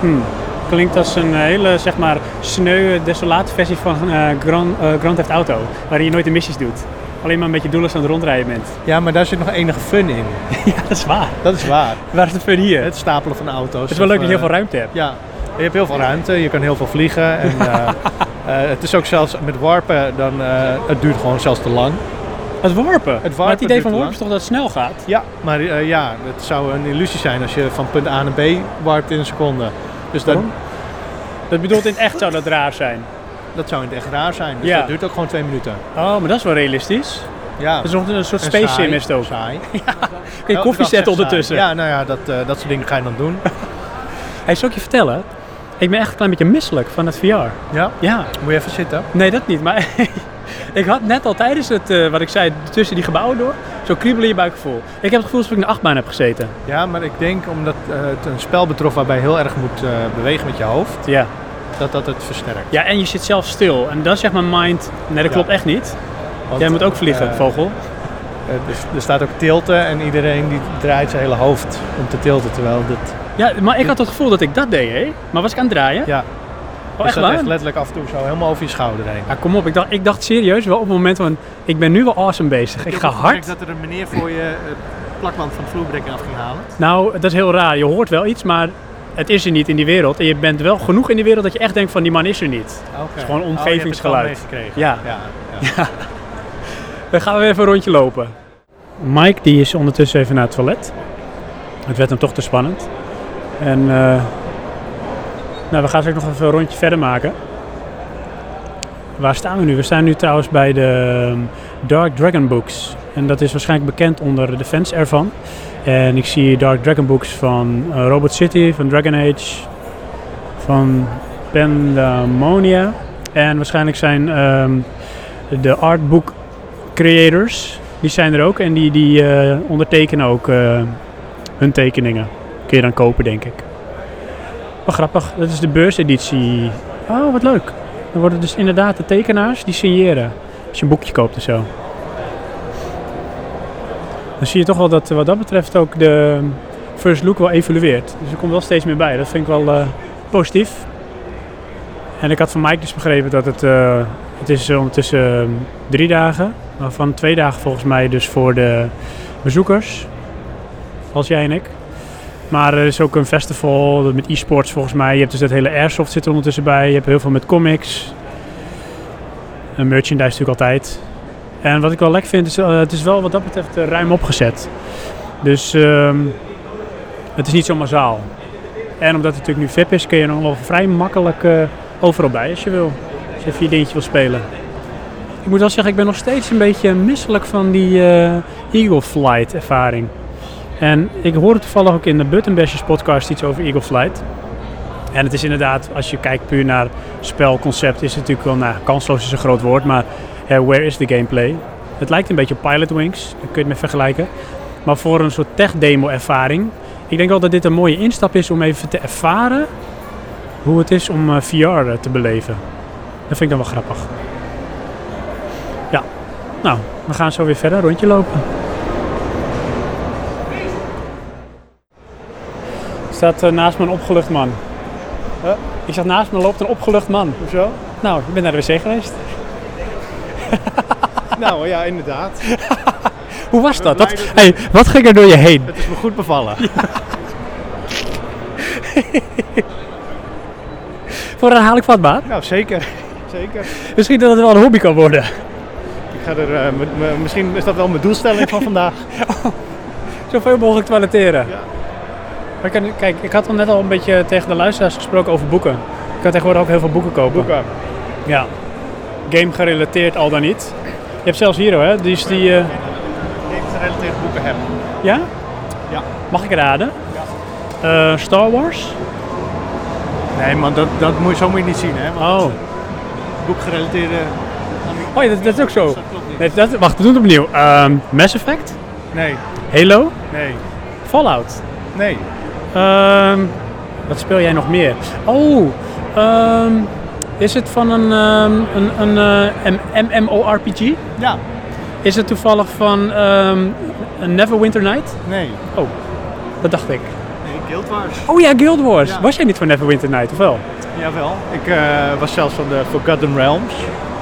[SPEAKER 1] Hmm. Klinkt als een eh, hele, zeg maar, sneu, desolate versie van eh, Grand, eh, Grand Theft Auto. Waarin je nooit de missies doet. Alleen maar met je doelen aan het rondrijden bent.
[SPEAKER 2] ja, maar daar zit nog enige fun in.
[SPEAKER 1] ja, dat is waar.
[SPEAKER 2] Dat is waar.
[SPEAKER 1] Waar is de fun hier? Het
[SPEAKER 2] Het stapelen van auto's.
[SPEAKER 1] is wel leuk
[SPEAKER 2] of,
[SPEAKER 1] dat je heel
[SPEAKER 2] eh,
[SPEAKER 1] veel ruimte hebt.
[SPEAKER 2] Ja, je hebt heel veel ruimte, je kan heel veel vliegen. En, eh, eh, het is ook zelfs met warpen, dan, eh, het duurt gewoon zelfs te lang.
[SPEAKER 1] Het warpen.
[SPEAKER 2] Het
[SPEAKER 1] maar het
[SPEAKER 2] warpen
[SPEAKER 1] idee
[SPEAKER 2] duurt
[SPEAKER 1] van
[SPEAKER 2] te
[SPEAKER 1] warpen is toch dat het snel gaat?
[SPEAKER 2] Ja, maar eh, ja, het zou een illusie zijn als je van punt A naar B warpt in een seconde. Dus dat,
[SPEAKER 1] Waarom? Dat bedoelt in het echt zou dat raar zijn.
[SPEAKER 2] dat zou in het echt raar zijn. Dus
[SPEAKER 1] Ja.
[SPEAKER 2] dat duurt ook gewoon twee minuten.
[SPEAKER 1] Oh, maar dat is wel realistisch.
[SPEAKER 2] Ja.
[SPEAKER 1] Dat is nog een soort
[SPEAKER 2] En
[SPEAKER 1] space
[SPEAKER 2] saai,
[SPEAKER 1] sim is het ook.
[SPEAKER 2] Saai.
[SPEAKER 1] Kun je koffie
[SPEAKER 2] Elke dag
[SPEAKER 1] zetten
[SPEAKER 2] zegt
[SPEAKER 1] ondertussen.
[SPEAKER 2] saai. Ja, nou ja, dat, eh, dat soort dingen ga je dan doen.
[SPEAKER 1] Hij zou ik je vertellen, ik ben echt een klein beetje misselijk van het VR.
[SPEAKER 2] Ja,
[SPEAKER 1] Ja,
[SPEAKER 2] moet je even zitten.
[SPEAKER 1] nee dat niet, maar ik had net al tijdens het, eh, wat ik zei, tussen die gebouwen door, zo kriebelen in je buikgevoel. Ik heb het gevoel alsof ik in de achtbaan heb gezeten.
[SPEAKER 2] Ja, maar ik denk omdat eh, het een spel betrof waarbij je heel erg moet eh, bewegen met je hoofd,
[SPEAKER 1] Ja.
[SPEAKER 2] dat dat het versterkt.
[SPEAKER 1] ja, en je zit zelf stil. En dan zegt mijn mind, nee dat
[SPEAKER 2] Ja.
[SPEAKER 1] klopt echt niet.
[SPEAKER 2] Want,
[SPEAKER 1] Jij moet ook vliegen,
[SPEAKER 2] eh,
[SPEAKER 1] vogel.
[SPEAKER 2] eh, er, er staat ook tilten en iedereen die draait zijn hele hoofd om te tilten, terwijl dat...
[SPEAKER 1] Ja, maar ik had het gevoel dat ik dat deed, hè? Maar was ik aan het draaien?
[SPEAKER 2] Ja.
[SPEAKER 1] Oh,
[SPEAKER 2] Dus
[SPEAKER 1] echt
[SPEAKER 2] dat
[SPEAKER 1] waar?
[SPEAKER 2] echt letterlijk af en toe zo helemaal over je schouder heen.
[SPEAKER 1] Ja, kom op, ik dacht, ik dacht serieus wel op het moment van, ik ben nu wel awesome bezig. Ik ga hard.
[SPEAKER 2] dat er een meneer voor je het plakband van de vloerbrekker af ging halen.
[SPEAKER 1] Nou, dat is heel raar. Je hoort wel iets, maar het is er niet in die wereld. En je bent wel genoeg in die wereld dat je echt denkt van, die man is er niet.
[SPEAKER 2] Oh, Het
[SPEAKER 1] is gewoon omgevingsgeluid. Ja.
[SPEAKER 2] ja. Ja,
[SPEAKER 1] Dan gaan we weer even een rondje lopen. Mike die is ondertussen even naar het toilet. Het werd hem toch te spannend. En eh, nou, we gaan straks nog even een rondje verder maken. Waar staan we nu? We staan nu trouwens bij de ehm, Dark Dragon Books. En dat is waarschijnlijk bekend onder de fans ervan. En ik zie Dark Dragon Books van eh, Robot City, van Dragon Age, van Pandamonia. En waarschijnlijk zijn ehm, de artbook creators, die zijn er ook en die, die eh, ondertekenen ook eh, hun tekeningen. Kun je dan kopen, denk ik. Wat grappig, dat is de beurseditie. Oh, wat leuk. Dan worden dus inderdaad de tekenaars die signeren. Als je een boekje koopt en zo. Dan zie je toch wel dat eh, wat dat betreft ook de first look wel evolueert. Dus er komt wel steeds meer bij. Dat vind ik wel eh, positief. En ik had van Mike dus begrepen dat het, eh, het is eh, ondertussen eh, drie dagen Waarvan twee dagen volgens mij dus voor de bezoekers. Als jij en ik. Maar er is ook een festival met e-sports volgens mij. Je hebt dus dat hele airsoft zit er ondertussen bij. Je hebt heel veel met comics. En merchandise natuurlijk altijd. En wat ik wel lekker vind, is eh, het is wel wat dat betreft eh, ruim opgezet. Dus ehm, het is niet zo massaal. En omdat het natuurlijk nu VIP is, kun je nog wel vrij makkelijk eh, overal bij als je wil. Als je even je dingetje wil spelen. Ik moet wel zeggen, ik ben nog steeds een beetje misselijk van die eh, Eagle Flight ervaring. En ik hoorde toevallig ook in de Buttonbashers podcast iets over Eagle Flight. En het is inderdaad, als je kijkt puur naar spelconcept, is het natuurlijk wel, nou, kansloos is een groot woord, maar hè, where is the gameplay? Het lijkt een beetje op Pilot Wings, daar kun je het mee vergelijken. Maar voor een soort tech-demo ervaring, ik denk wel dat dit een mooie instap is om even te ervaren hoe het is om eh, VR te beleven. Dat vind ik dan wel grappig. Nou, we gaan zo weer verder een rondje lopen. Er staat eh, naast me een opgelucht man.
[SPEAKER 2] Huh?
[SPEAKER 1] Ik zag naast me loopt een opgelucht man.
[SPEAKER 2] Hoezo?
[SPEAKER 1] Nou, ik ben naar de wc geweest.
[SPEAKER 2] nou ja, inderdaad.
[SPEAKER 1] Hoe was dat?
[SPEAKER 2] Mij
[SPEAKER 1] Wat,
[SPEAKER 2] dus
[SPEAKER 1] hey, wat ging er door je heen?
[SPEAKER 2] Het is me goed bevallen.
[SPEAKER 1] Voor herhaling vatbaar?
[SPEAKER 2] Nou, zeker. Zeker.
[SPEAKER 1] Misschien dat het wel een hobby kan worden.
[SPEAKER 2] Ik ga er, eh, m- m- misschien is dat wel mijn doelstelling van vandaag.
[SPEAKER 1] Zoveel mogelijk toileteren.
[SPEAKER 2] Ja.
[SPEAKER 1] Maar ik kan- kijk, ik had al net al een beetje tegen de luisteraars gesproken over boeken. Ik kan tegenwoordig ook heel veel boeken kopen.
[SPEAKER 2] Boeken.
[SPEAKER 1] Ja. Game gerelateerd al dan niet. Je hebt zelfs hier hoor, hè? Die is die... eh,
[SPEAKER 2] Games-gerelateerde boeken hebben.
[SPEAKER 1] Ja?
[SPEAKER 2] Ja.
[SPEAKER 1] Mag ik raden? Eh, Star Wars?
[SPEAKER 2] Nee, maar dat, dat moet, zo moet je niet zien, hè? Want
[SPEAKER 1] Oh.
[SPEAKER 2] boekgerelateerde...
[SPEAKER 1] Oh ja, dat, dat is ook zo.
[SPEAKER 2] Dat klopt niet.
[SPEAKER 1] Nee, dat, wacht, we doen het opnieuw. Ehm, Mass Effect?
[SPEAKER 2] Nee,
[SPEAKER 1] Halo?
[SPEAKER 2] nee,
[SPEAKER 1] Fallout?
[SPEAKER 2] nee.
[SPEAKER 1] Ehm, wat speel jij nog meer? Oh, ehm, is het van een, ehm, een, een eh, M- MMORPG?
[SPEAKER 2] Ja,
[SPEAKER 1] Is het toevallig van ehm, een Neverwinter Night?
[SPEAKER 2] nee.
[SPEAKER 1] Dat dacht ik.
[SPEAKER 2] Nee, Guild Wars.
[SPEAKER 1] Oh ja, Guild Wars.
[SPEAKER 2] Ja.
[SPEAKER 1] Was jij niet van Neverwinter Night, of wel?
[SPEAKER 2] Jawel. Ik eh, was zelfs van de Forgotten Realms.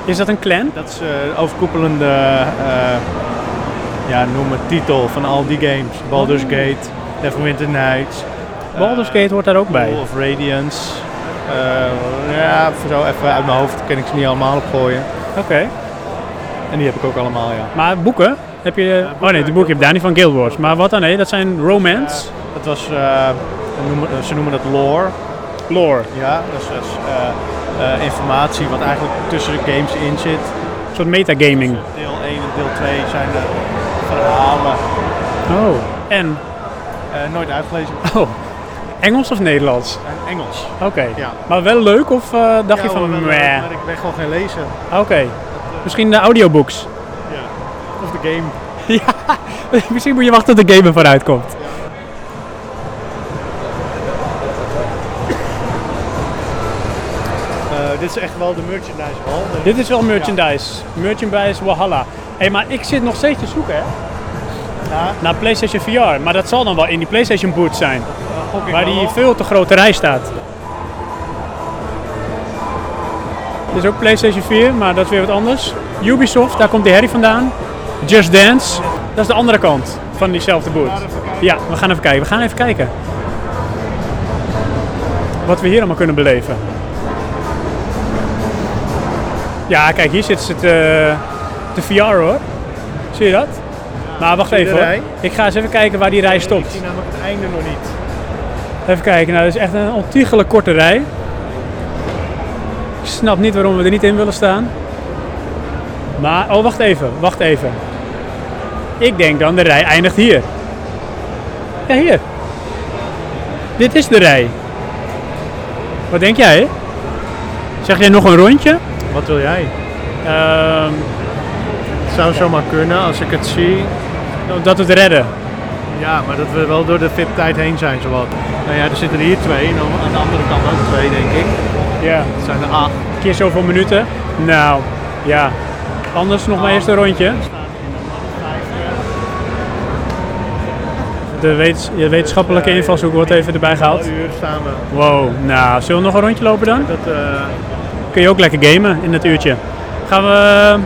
[SPEAKER 1] Is dat een clan?
[SPEAKER 2] Dat is eh, de overkoepelende eh, ja, noem het titel van al die games. Baldur's Gate, Neverwinter Nights.
[SPEAKER 1] Baldur's
[SPEAKER 2] eh,
[SPEAKER 1] Gate hoort daar ook bij.
[SPEAKER 2] Pool of Radiance. Eh, ja, voor zo even uit mijn hoofd kan ik ze niet allemaal opgooien.
[SPEAKER 1] Oké.
[SPEAKER 2] En die heb ik ook allemaal, ja.
[SPEAKER 1] Maar boeken heb je... oh nee, de boeken heb je daar niet van Guild Wars. Maar wat dan? Nee, dat zijn romance,
[SPEAKER 2] Dat was, eh, we noemen- ze noemen dat lore.
[SPEAKER 1] lore.
[SPEAKER 2] Ja, dus dat is eh, eh, informatie wat eigenlijk tussen de games in zit.
[SPEAKER 1] Een soort metagaming.
[SPEAKER 2] Deel 1 en deel 2 zijn de verhalen.
[SPEAKER 1] Oh. En?
[SPEAKER 2] Eh, nooit uitgelezen.
[SPEAKER 1] Oh. Engels of Nederlands?
[SPEAKER 2] En Engels.
[SPEAKER 1] Oké.
[SPEAKER 2] Ja.
[SPEAKER 1] Maar wel leuk of eh, dacht je
[SPEAKER 2] Ja,
[SPEAKER 1] van...
[SPEAKER 2] hoor, wel leuk,
[SPEAKER 1] meh?
[SPEAKER 2] Maar ik ben gewoon geen lezer.
[SPEAKER 1] Oké. Misschien de audiobooks.
[SPEAKER 2] Ja. Of de game.
[SPEAKER 1] Misschien moet je wachten tot de game ervan uitkomt.
[SPEAKER 2] Eh, dit is echt wel de merchandise hall. De-
[SPEAKER 1] Dit is wel merchandise. Merchandise Walhalla. Hé, hey, maar ik zit nog steeds te zoeken hè,
[SPEAKER 2] Ja,
[SPEAKER 1] naar PlayStation VR. Maar dat zal dan wel in die PlayStation booth zijn.
[SPEAKER 2] eh, gok ik
[SPEAKER 1] Waar
[SPEAKER 2] wel
[SPEAKER 1] die
[SPEAKER 2] op.
[SPEAKER 1] veel te grote rij staat. Dit is ook PlayStation 4, maar dat is weer wat anders. Ubisoft, daar komt die herrie vandaan. Just Dance, dat is de andere kant van diezelfde booth. Ja, we gaan even kijken. We gaan even kijken. Wat we hier allemaal kunnen beleven. Ja, kijk, hier zit het, eh, de VR hoor. Zie je dat? Maar wacht
[SPEAKER 2] Zie je de
[SPEAKER 1] even hoor.
[SPEAKER 2] rij?
[SPEAKER 1] Ik ga eens even kijken waar die rij
[SPEAKER 2] Ik
[SPEAKER 1] stopt.
[SPEAKER 2] zie namelijk het einde nog niet.
[SPEAKER 1] Even kijken, nou, dat is echt een ontiegelijk korte rij. Ik snap niet waarom we er niet in willen staan. Maar, oh, wacht even, wacht even. Ik denk dan, de rij eindigt hier. Ja, hier. Dit is de rij. Wat denk jij? Zeg jij nog een rondje?
[SPEAKER 2] Wat wil jij?
[SPEAKER 1] Ehm,
[SPEAKER 2] Het zou zomaar kunnen als ik het zie.
[SPEAKER 1] dat we het redden.
[SPEAKER 2] Ja, maar dat we wel door de VIP-tijd heen zijn, zowat. Nou ja, er zitten er hier twee en dan aan de andere kant ook twee, denk ik.
[SPEAKER 1] Ja.
[SPEAKER 2] Het zijn er acht.
[SPEAKER 1] keer zoveel minuten. Nou, ja. Anders nog maar eerst een rondje. De wetens- je wetenschappelijke invalshoek wordt even erbij gehaald.
[SPEAKER 2] Een uur staan we.
[SPEAKER 1] Wow, nou, zullen we nog een rondje lopen dan?
[SPEAKER 2] Dat, eh,
[SPEAKER 1] Kun je ook lekker gamen in dat uurtje. Gaan we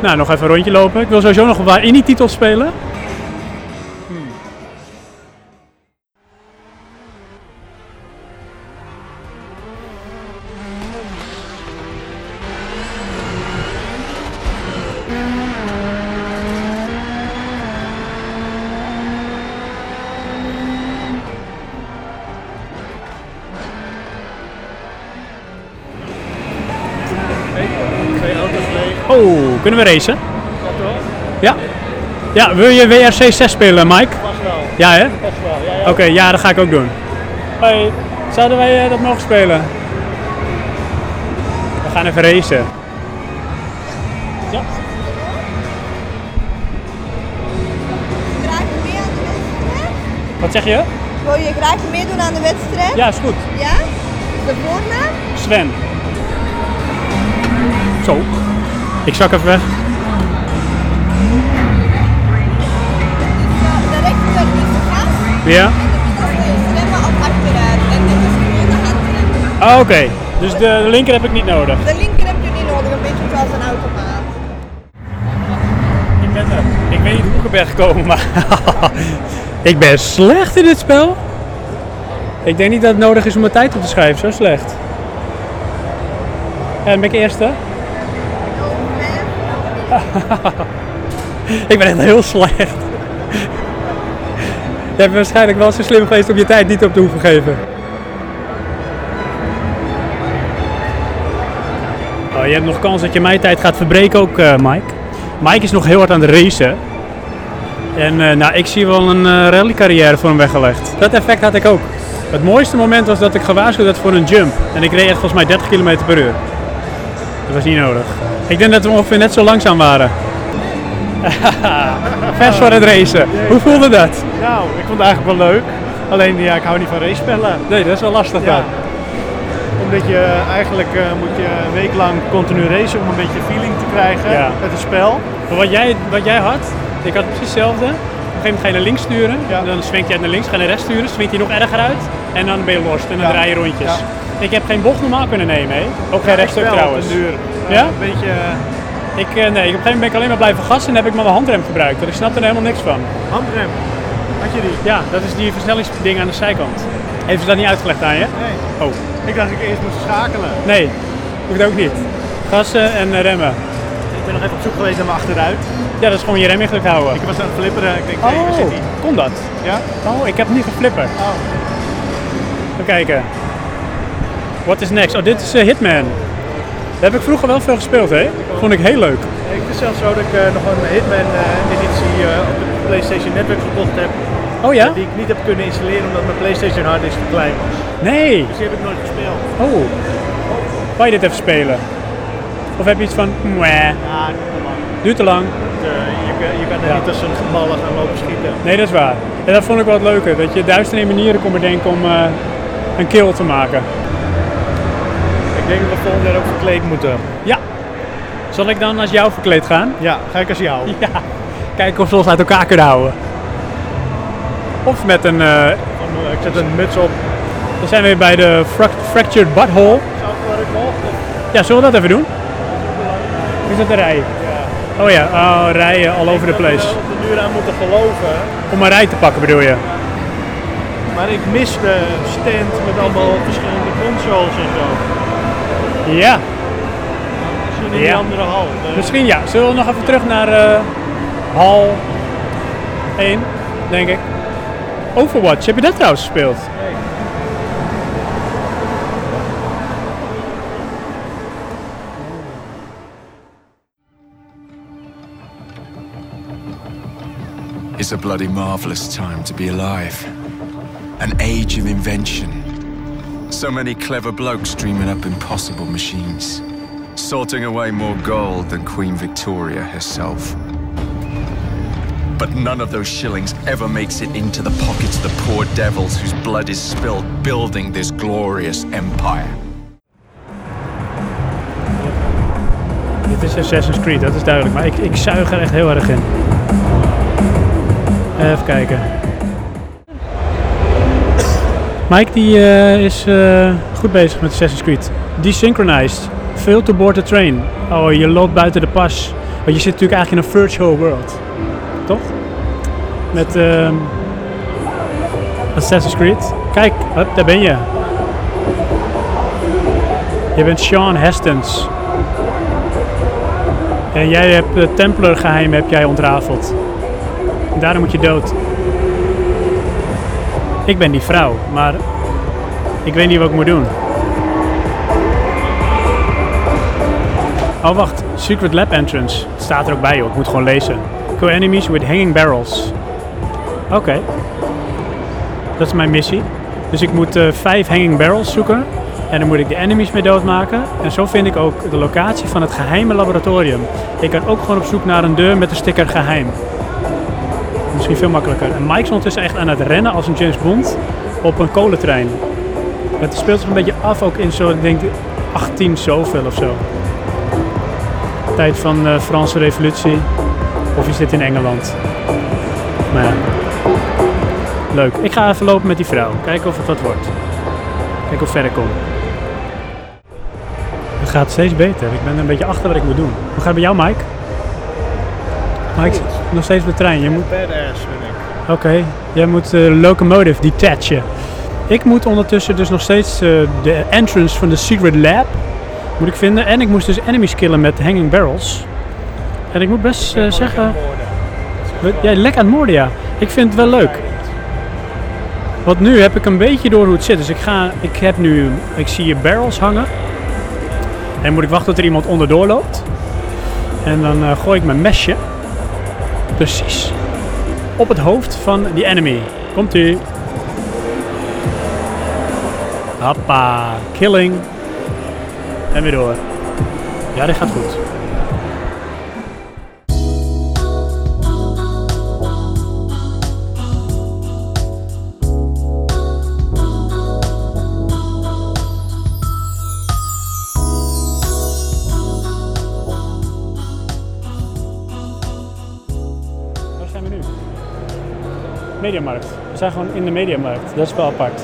[SPEAKER 1] nou, nog even een rondje lopen. Ik wil sowieso nog wat indie-titels spelen.
[SPEAKER 2] twee auto's leeg.
[SPEAKER 1] Oh, kunnen we racen? Ja. Ja, wil je WRC 6 spelen, Mike?
[SPEAKER 2] Pas wel,
[SPEAKER 1] Ja, hè?
[SPEAKER 2] pas wel. Ja, ja.
[SPEAKER 1] Oké, ja, dat ga ik ook doen. Hoi, zouden wij eh, dat mogen spelen? We gaan even racen. Ja.
[SPEAKER 5] Graag mee aan de wedstrijd?
[SPEAKER 1] Wat zeg je?
[SPEAKER 5] Wil je graag meedoen aan de wedstrijd?
[SPEAKER 1] Ja, is goed.
[SPEAKER 5] Ja? De voornaam?
[SPEAKER 1] Sven. Zo. Ik zak even weg.
[SPEAKER 5] De rechter is de gas
[SPEAKER 1] Ja.
[SPEAKER 5] en de middelste is remmen op achteruit. En dit is gewoon de handrem.
[SPEAKER 1] Ah, Oké, dus de, de linker heb ik niet nodig.
[SPEAKER 5] De linker heb je niet nodig, een beetje zoals een automaat.
[SPEAKER 1] Ik ben er. Ik weet niet hoe ik er ben gekomen, maar ik ben slecht in dit spel. Ik denk niet dat het nodig is om mijn tijd op te schrijven, zo slecht. En ben ik eerste? ik ben echt heel slecht. Je bent waarschijnlijk wel zo slim geweest om je tijd niet op te hoeven geven. Oh, je hebt nog kans dat je mijn tijd gaat verbreken ook, eh, Mike. Mike is nog heel hard aan het racen. En eh, nou, ik zie wel een eh, rallycarrière voor hem weggelegd. Dat effect had ik ook. Het mooiste moment was dat ik gewaarschuwd werd voor een jump. En ik reed echt volgens mij 30 km per uur. Dat was niet nodig. Ik denk dat we ongeveer net zo langzaam waren. Vers voor het racen. Hoe voelde dat?
[SPEAKER 2] Nou, ik vond het eigenlijk wel leuk. Alleen ja, ik hou niet van racepellen.
[SPEAKER 1] Nee, dat is wel lastig
[SPEAKER 2] Ja. Omdat je eigenlijk eh, moet je een week lang continu racen om een beetje feeling te krijgen
[SPEAKER 1] Ja.
[SPEAKER 2] met het spel.
[SPEAKER 1] Maar wat jij, wat jij had, ik had precies hetzelfde. Op een gegeven moment ga je naar links sturen,
[SPEAKER 2] Ja.
[SPEAKER 1] dan swingt jij naar links, ga je naar rechts sturen, swingt hij nog erger uit en dan ben je lost en dan
[SPEAKER 2] Ja.
[SPEAKER 1] draai je rondjes.
[SPEAKER 2] Ja.
[SPEAKER 1] Ik heb geen bocht normaal kunnen nemen, hè? ook geen
[SPEAKER 2] Echt
[SPEAKER 1] rechtstuk
[SPEAKER 2] wel,
[SPEAKER 1] trouwens.
[SPEAKER 2] op den duur. Eh,
[SPEAKER 1] Ja?
[SPEAKER 2] Een beetje eh,
[SPEAKER 1] Ik, eh, nee, ik, op een gegeven moment ben ik alleen maar blijven gassen en heb ik maar mijn handrem gebruikt, want ik snapte er helemaal niks van.
[SPEAKER 2] handrem. Had je die?
[SPEAKER 1] Ja, dat is die versnellingsding aan de zijkant. Heeft ze dat niet uitgelegd aan je?
[SPEAKER 2] Nee.
[SPEAKER 1] Oh,
[SPEAKER 2] Ik dacht ik eerst moest schakelen.
[SPEAKER 1] nee, hoeft ook niet. Gassen en eh, remmen.
[SPEAKER 2] ben nog even op zoek geweest naar mijn achteruit.
[SPEAKER 1] Ja, dat is gewoon je rem in druk houden.
[SPEAKER 2] Ik was aan het flipperen. Ik denk, hé,
[SPEAKER 1] Oh.
[SPEAKER 2] waar zit die?
[SPEAKER 1] kon dat?
[SPEAKER 2] Oh. Ja?
[SPEAKER 1] Oh, ik heb niet geflipperd. Even kijken. What is next? Oh, dit is eh, Hitman. Daar heb ik vroeger wel veel gespeeld, hè? Vond ik heel leuk.
[SPEAKER 2] Ik vind zelfs zo dat ik eh, nog een Hitman-editie eh, op de PlayStation Network gekocht heb.
[SPEAKER 1] Oh ja?
[SPEAKER 2] Die ik niet heb kunnen installeren omdat mijn PlayStation harddisk te klein was.
[SPEAKER 1] Nee.
[SPEAKER 2] Dus die heb ik nooit gespeeld.
[SPEAKER 1] Oh. Wou je dit even spelen? Of heb je iets van, mwah,
[SPEAKER 2] Ja, kom maar.
[SPEAKER 1] duurt te lang?
[SPEAKER 2] eh, je, kan- je kan er
[SPEAKER 1] Ja.
[SPEAKER 2] niet als een gemalle gaan lopen schieten.
[SPEAKER 1] Nee, dat is waar. En dat vond ik wel het leuke, dat je duizenden en een manieren kon bedenken om eh, een kill te maken.
[SPEAKER 2] Ik denk dat we volgend jaar ook verkleed moeten.
[SPEAKER 1] Ja. Zal ik dan als jou verkleed gaan?
[SPEAKER 2] Ja, ga ik als jou.
[SPEAKER 1] Ja. Kijken of ze ons uit elkaar kunnen houden. Of met een... eh,
[SPEAKER 2] Ik zet een muts op.
[SPEAKER 1] dan zijn we weer bij de fract- Fractured Butthole. Ja, zullen we dat even doen? Is dat een rij? Oh ja, oh, rijen all over the place.
[SPEAKER 2] Ik er nu aan moeten geloven.
[SPEAKER 1] Om een rij te pakken bedoel je?
[SPEAKER 2] Maar ik mis de stand met allemaal verschillende consoles en zo.
[SPEAKER 1] Ja,
[SPEAKER 2] Misschien in die
[SPEAKER 1] Ja.
[SPEAKER 2] andere hal. Eh,
[SPEAKER 1] misschien ja. Zullen we nog even terug naar eh, hal 1, denk ik. Overwatch, heb je dat trouwens gespeeld?
[SPEAKER 6] It's a bloody marvelous time to be alive. An age of invention. So many clever blokes dreaming up impossible machines, sorting away more gold than Queen Victoria herself. But none of those shillings ever makes it into the pockets of the poor devils whose blood is spilled building this glorious empire.
[SPEAKER 1] Dit is Assassin's Creed, dat is duidelijk. Maar ik, ik zuig er echt heel erg in. Even kijken. Mike die eh, is eh, goed bezig met Assassin's Creed. Desynchronized. Veel to board the train. Oh, je loopt buiten de pas. Want je zit natuurlijk eigenlijk in een virtual world. Toch? Met ehm, Assassin's Creed. Kijk, hup, daar ben je. Je bent Sean Hastings. En jij hebt het Templar geheim heb jij ontrafeld. En daarom moet je dood. Ik ben die vrouw, maar ik weet niet wat ik moet doen. Oh wacht, Secret Lab Entrance. Het staat er ook bij joh, ik moet gewoon lezen. Kill enemies with hanging barrels. Oké. Dat is mijn missie. Dus ik moet eh, vijf hanging barrels zoeken. En dan moet ik de enemies mee doodmaken. En zo vind ik ook de locatie van het geheime laboratorium. Ik kan ook gewoon op zoek naar een deur met de sticker geheim. Misschien veel makkelijker. En Mike is ondertussen echt aan het rennen als een James Bond op een kolentrein. Het speelt zich een beetje af ook in zo, ik denk 18 zoveel of zo. Tijd van de Franse revolutie. Of is dit in Engeland? Maar ja. Leuk. Ik ga even lopen met die vrouw. Kijken of het wat wordt. Kijken of ik verder kom. Het gaat steeds beter. Ik ben een beetje achter wat ik moet doen. Hoe gaat het bij jou, Mike? Mike, nog steeds op de trein. Je moet...
[SPEAKER 2] Badass ben ik.
[SPEAKER 1] Oké, jij moet de locomotive detachen. Ik moet ondertussen dus nog steeds eh, de entrance van de Secret Lab moet ik vinden. En ik moest dus enemies killen met hanging barrels. En ik moet best eh, zeggen... We- Jij lek aan Mordia. Ik vind het wel leuk. Want nu heb ik een beetje door hoe het zit. Dus ik ga... Ik heb nu... Ik zie je barrels hangen. En moet ik wachten tot er iemand onderdoor loopt. En dan eh, gooi ik mijn mesje. Precies op het hoofd van die enemy. Komt u. Hoppa, killing. En weer door. Ja, dit gaat goed. Waar zijn we nu? Mediamarkt. We zijn gewoon in de Mediamarkt. Dat is wel apart.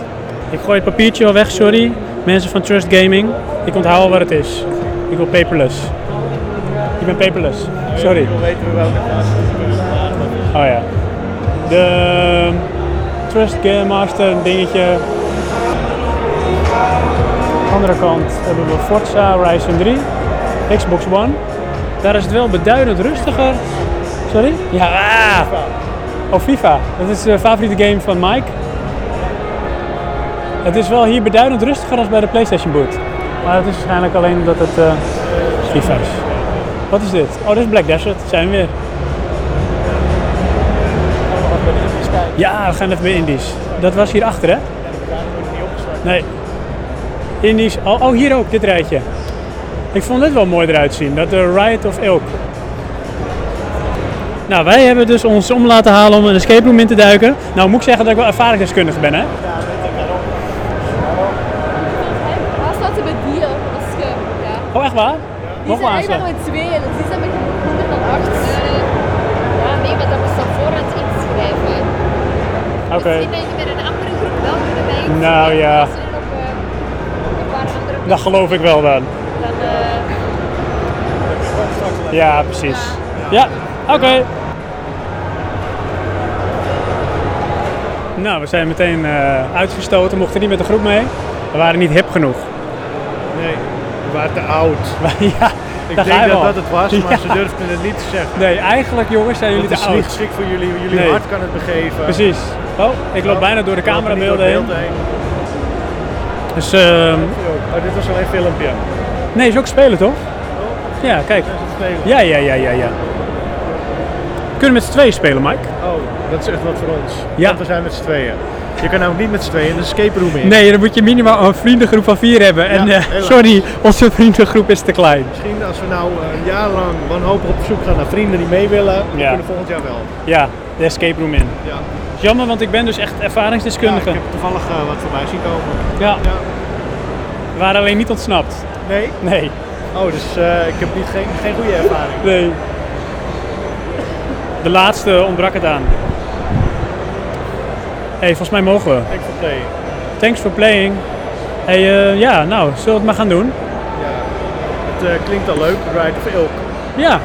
[SPEAKER 1] Ik gooi het papiertje wel weg, sorry. Mensen van Trust Gaming. Ik onthoud al wat het is. Ik wil paperless. Ik ben paperless. Sorry.
[SPEAKER 2] We weten welke plaats het is.
[SPEAKER 1] Oh ja. De ehm, Trust Game Master dingetje. Andere kant hebben we Forza Horizon 3, Xbox One, Daar is het wel beduidend rustiger. Sorry? Ja. ah. Oh, FIFA. Dat is de favoriete game van Mike. Het is wel hier beduidend rustiger dan bij de PlayStation Boot. Maar dat is waarschijnlijk alleen omdat het eh, FIFA is. Wat is dit? Oh, dit is Black Desert. Zijn we weer. Ja, we gaan even bij Indisch. Dat was hier achter, hè? Nee. Indisch. Oh, oh, hier ook, dit rijtje. Ik vond dit wel mooi eruit zien. Dat de Riot of Elk. Nou, wij hebben dus ons om laten halen om een escape room in te duiken. Nou, moet ik zeggen dat ik wel ervaringsdeskundig ben, hè?
[SPEAKER 7] Was war bei dir? Was ist ge- ja.
[SPEAKER 1] Oh, echt waar?
[SPEAKER 7] Die
[SPEAKER 1] Nog
[SPEAKER 7] zijn
[SPEAKER 1] maar
[SPEAKER 7] eigenlijk
[SPEAKER 1] aanslaan.
[SPEAKER 7] nog in twee. Dus die zijn met 108. Ja, nee, maar dat moest op voorhand inschrijven.
[SPEAKER 1] Oké.
[SPEAKER 7] Misschien ben je met een andere groep wel kunnen bij
[SPEAKER 1] Nou, ja. Nou.
[SPEAKER 7] Er zijn nog eh, een paar andere
[SPEAKER 1] Dat
[SPEAKER 7] mensen
[SPEAKER 1] geloof ik wel dan.
[SPEAKER 7] Dan, eh,
[SPEAKER 1] Ja, precies. Ja, oké. Nou, we zijn meteen eh, uitgestoten, mochten niet met de groep mee. We waren niet hip genoeg.
[SPEAKER 2] Nee, we waren te oud.
[SPEAKER 1] ja,
[SPEAKER 2] Ik
[SPEAKER 1] daar
[SPEAKER 2] denk
[SPEAKER 1] ga je
[SPEAKER 2] dat
[SPEAKER 1] al.
[SPEAKER 2] dat het was, maar
[SPEAKER 1] Ja.
[SPEAKER 2] ze durfden het niet te zeggen.
[SPEAKER 1] Nee, eigenlijk jongens zijn jullie
[SPEAKER 2] Het
[SPEAKER 1] te
[SPEAKER 2] is niet
[SPEAKER 1] oud.
[SPEAKER 2] geschikt voor jullie, jullie
[SPEAKER 1] Nee.
[SPEAKER 2] hart kan het begeven.
[SPEAKER 1] Precies. Oh, ik loop bijna door de
[SPEAKER 2] Ik loop er niet door
[SPEAKER 1] camerabeelden heen.
[SPEAKER 2] beelden heen.
[SPEAKER 1] Dus, ehm,
[SPEAKER 2] Oh, dit was alleen een filmpje. Dat
[SPEAKER 1] nee, is ook spelen toch? Ja, kijk.
[SPEAKER 2] is het spelen.
[SPEAKER 1] Ja, ja, ja, ja, ja. We kunnen met z'n tweeën spelen, Mike.
[SPEAKER 2] Oh, dat is echt wat voor ons.
[SPEAKER 1] Ja.
[SPEAKER 2] Want we zijn met z'n tweeën. Je kan namelijk niet met z'n tweeën een escape room in.
[SPEAKER 1] Nee, dan moet je minimaal een vriendengroep van vier hebben. en
[SPEAKER 2] Ja,
[SPEAKER 1] eh,
[SPEAKER 2] helaas.
[SPEAKER 1] sorry, onze vriendengroep is te klein.
[SPEAKER 2] Misschien als we nou eh, een jaar lang wanhopig op zoek gaan naar vrienden die mee willen, dan
[SPEAKER 1] Ja.
[SPEAKER 2] kunnen we volgend jaar wel.
[SPEAKER 1] Ja, de escape room in.
[SPEAKER 2] Ja.
[SPEAKER 1] Jammer, want ik ben dus echt
[SPEAKER 2] Ja, ik
[SPEAKER 1] ervaringsdeskundige.
[SPEAKER 2] heb toevallig eh, wat voorbij zien komen.
[SPEAKER 1] Ja,
[SPEAKER 2] Ja.
[SPEAKER 1] we waren alleen niet ontsnapt.
[SPEAKER 2] Nee?
[SPEAKER 1] Nee,
[SPEAKER 2] Oh, dus eh, ik heb niet, geen, geen goede ervaring.
[SPEAKER 1] nee. De laatste ontbrak het aan. Hé, hey, volgens mij mogen we.
[SPEAKER 2] Ik verpleeg.
[SPEAKER 1] Thanks for playing. Hé, hey, eh, ja, nou, zullen we het maar gaan doen?
[SPEAKER 2] Het eh, klinkt al leuk, Ride of Ilk.
[SPEAKER 1] Ja.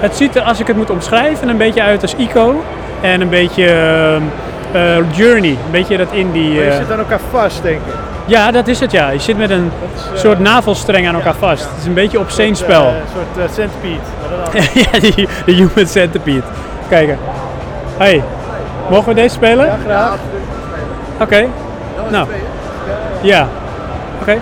[SPEAKER 1] Het ziet er, als ik het moet omschrijven, een beetje uit als Ico. En een beetje eh, eh, Journey. Een beetje dat indie.
[SPEAKER 2] Maar Oh, je
[SPEAKER 1] eh,
[SPEAKER 2] zit aan elkaar vast, denk ik.
[SPEAKER 1] Ja, dat is het ja. Je zit met een
[SPEAKER 2] is, eh,
[SPEAKER 1] soort navelstreng aan elkaar
[SPEAKER 2] ja,
[SPEAKER 1] vast.
[SPEAKER 2] ja.
[SPEAKER 1] Het is een beetje obscene
[SPEAKER 2] Eh,
[SPEAKER 1] spel.
[SPEAKER 2] Een soort eh, centipede. Maar dan anders.
[SPEAKER 1] ja, die, de Human Centipede. Kijken. Hey, mogen we deze spelen?
[SPEAKER 2] Ja, graag.
[SPEAKER 1] Oké. Nou. Ja. Oké.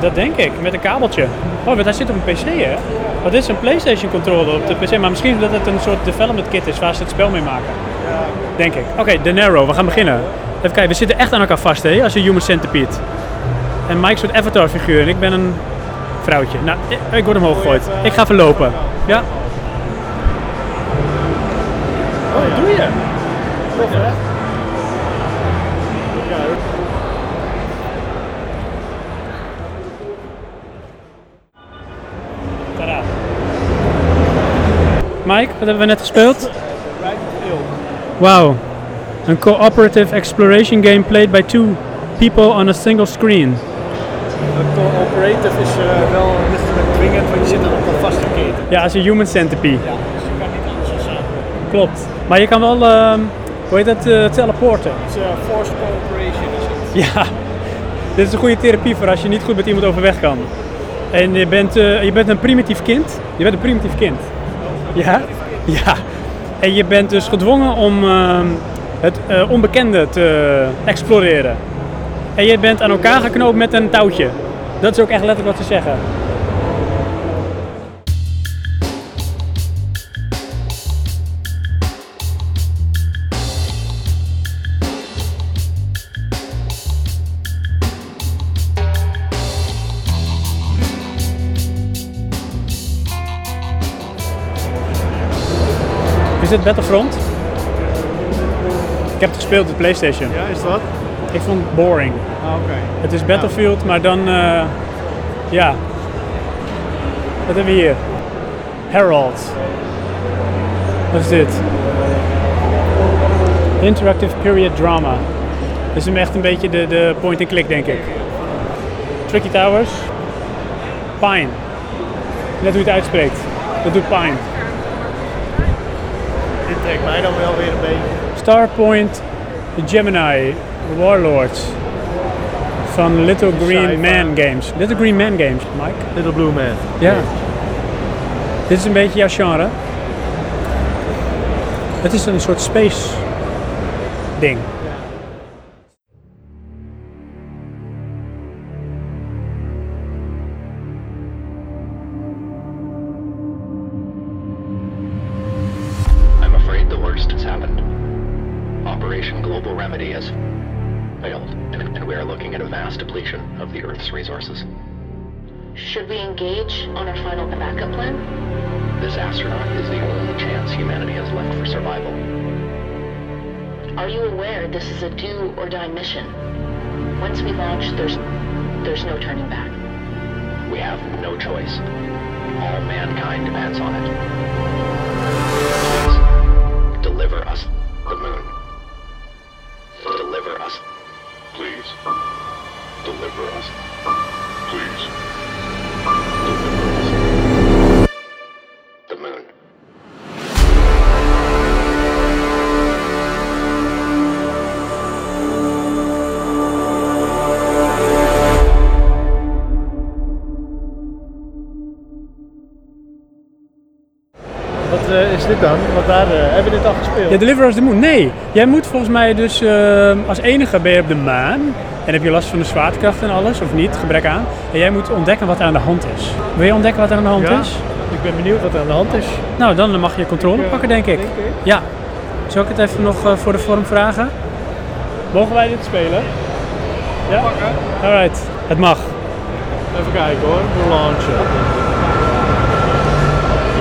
[SPEAKER 1] Dat denk ik, met een kabeltje. Oh, want hij zit op een PC, hè? Wat is een PlayStation controller op de PC? Maar misschien dat het een soort development kit is waar ze het spel mee maken. Denk ik. Oké, De Narrow, we gaan beginnen. Even kijken, we zitten echt aan elkaar vast, hè? Als je Human Centipede. En Mike is een soort avatar-figuur en ik ben een vrouwtje. Nou, ik, ik word omhoog gegooid. Ik ga verlopen. Ja?
[SPEAKER 2] Oh, doe je? Tof, hè?
[SPEAKER 1] Tada. Mike, wat hebben we net gespeeld?
[SPEAKER 2] Ride of Ilk.
[SPEAKER 1] Wow. Een cooperative exploration game played by two people on a single screen.
[SPEAKER 2] Eh, Cooperative is eh, wel lichtelijk dwingend, want je zit aan elkaar vastgeketen.
[SPEAKER 1] Ja, als een human centipede.
[SPEAKER 2] Ja, dus je kan niet anders dan samen.
[SPEAKER 1] Klopt. Maar je kan wel, ehm, hoe heet dat, eh, teleporten.
[SPEAKER 2] Het is eh, forced cooperation is het.
[SPEAKER 1] Ja. Dit is een goede therapie voor als je niet goed met iemand overweg kan. En je bent, eh, je bent een primitief kind. Je bent een primitief kind. Ja? Ja. En je bent dus gedwongen om ehm, het eh, onbekende te exploreren. En je bent aan elkaar geknoopt met een touwtje. Dat is ook echt letterlijk wat ze zeggen. Is het Battlefront? Ik heb het gespeeld op de PlayStation.
[SPEAKER 2] Ja, is dat?
[SPEAKER 1] Ik vond het boring.
[SPEAKER 2] Ah, oké.
[SPEAKER 1] Het is Battlefield, maar dan. eh, ja. Wat hebben we hier? Herald. Wat is dit? Interactive period drama. Dit is hem echt een beetje de, de point-and-click, denk ik. Tricky Towers. Pine. Net hoe je het uitspreekt. Dat doet Pine.
[SPEAKER 2] Dit trekt mij dan wel weer een beetje.
[SPEAKER 1] Starpoint Gemini Warlords van Little Green
[SPEAKER 2] Sci-fi.
[SPEAKER 1] Man Games. Little Green Man Games, Mike.
[SPEAKER 2] Little Blue Man.
[SPEAKER 1] Ja. Dit is een beetje jouw genre. Het is een soort space ding.
[SPEAKER 8] I'm afraid the worst has happened. Operation Global Remedy has failed, and we are looking at a vast depletion of the Earth's resources.
[SPEAKER 9] Should we engage on our final backup plan?
[SPEAKER 8] This astronaut is the only chance humanity has left for survival.
[SPEAKER 9] Are you aware this is a do or die mission? Once we launch, there's there's no turning back.
[SPEAKER 8] We have no choice. All mankind depends on it. Please, deliver us the moon. Deliver us. Please. Deliver us. Please. Deliver us. The moon.
[SPEAKER 2] Wat eh, is dit dan? Want daar eh, hebben we dit al gespeeld.
[SPEAKER 1] Ja, Deliver Us the Moon. Nee, jij moet volgens mij dus eh, als enige ben je op de maan. En heb je last van de zwaartekracht en alles, of niet, gebrek aan. En jij moet ontdekken wat er aan de hand is. Wil je ontdekken wat er aan de hand
[SPEAKER 2] Ja?
[SPEAKER 1] is?
[SPEAKER 2] Ik ben benieuwd wat er aan de hand is.
[SPEAKER 1] Nou, dan mag je controle pakken, denk ik. Ja. Zal ik het even nog eh, voor de vorm vragen? Mogen wij dit spelen? Ja? Alright, het mag.
[SPEAKER 2] Even kijken hoor, de launcher.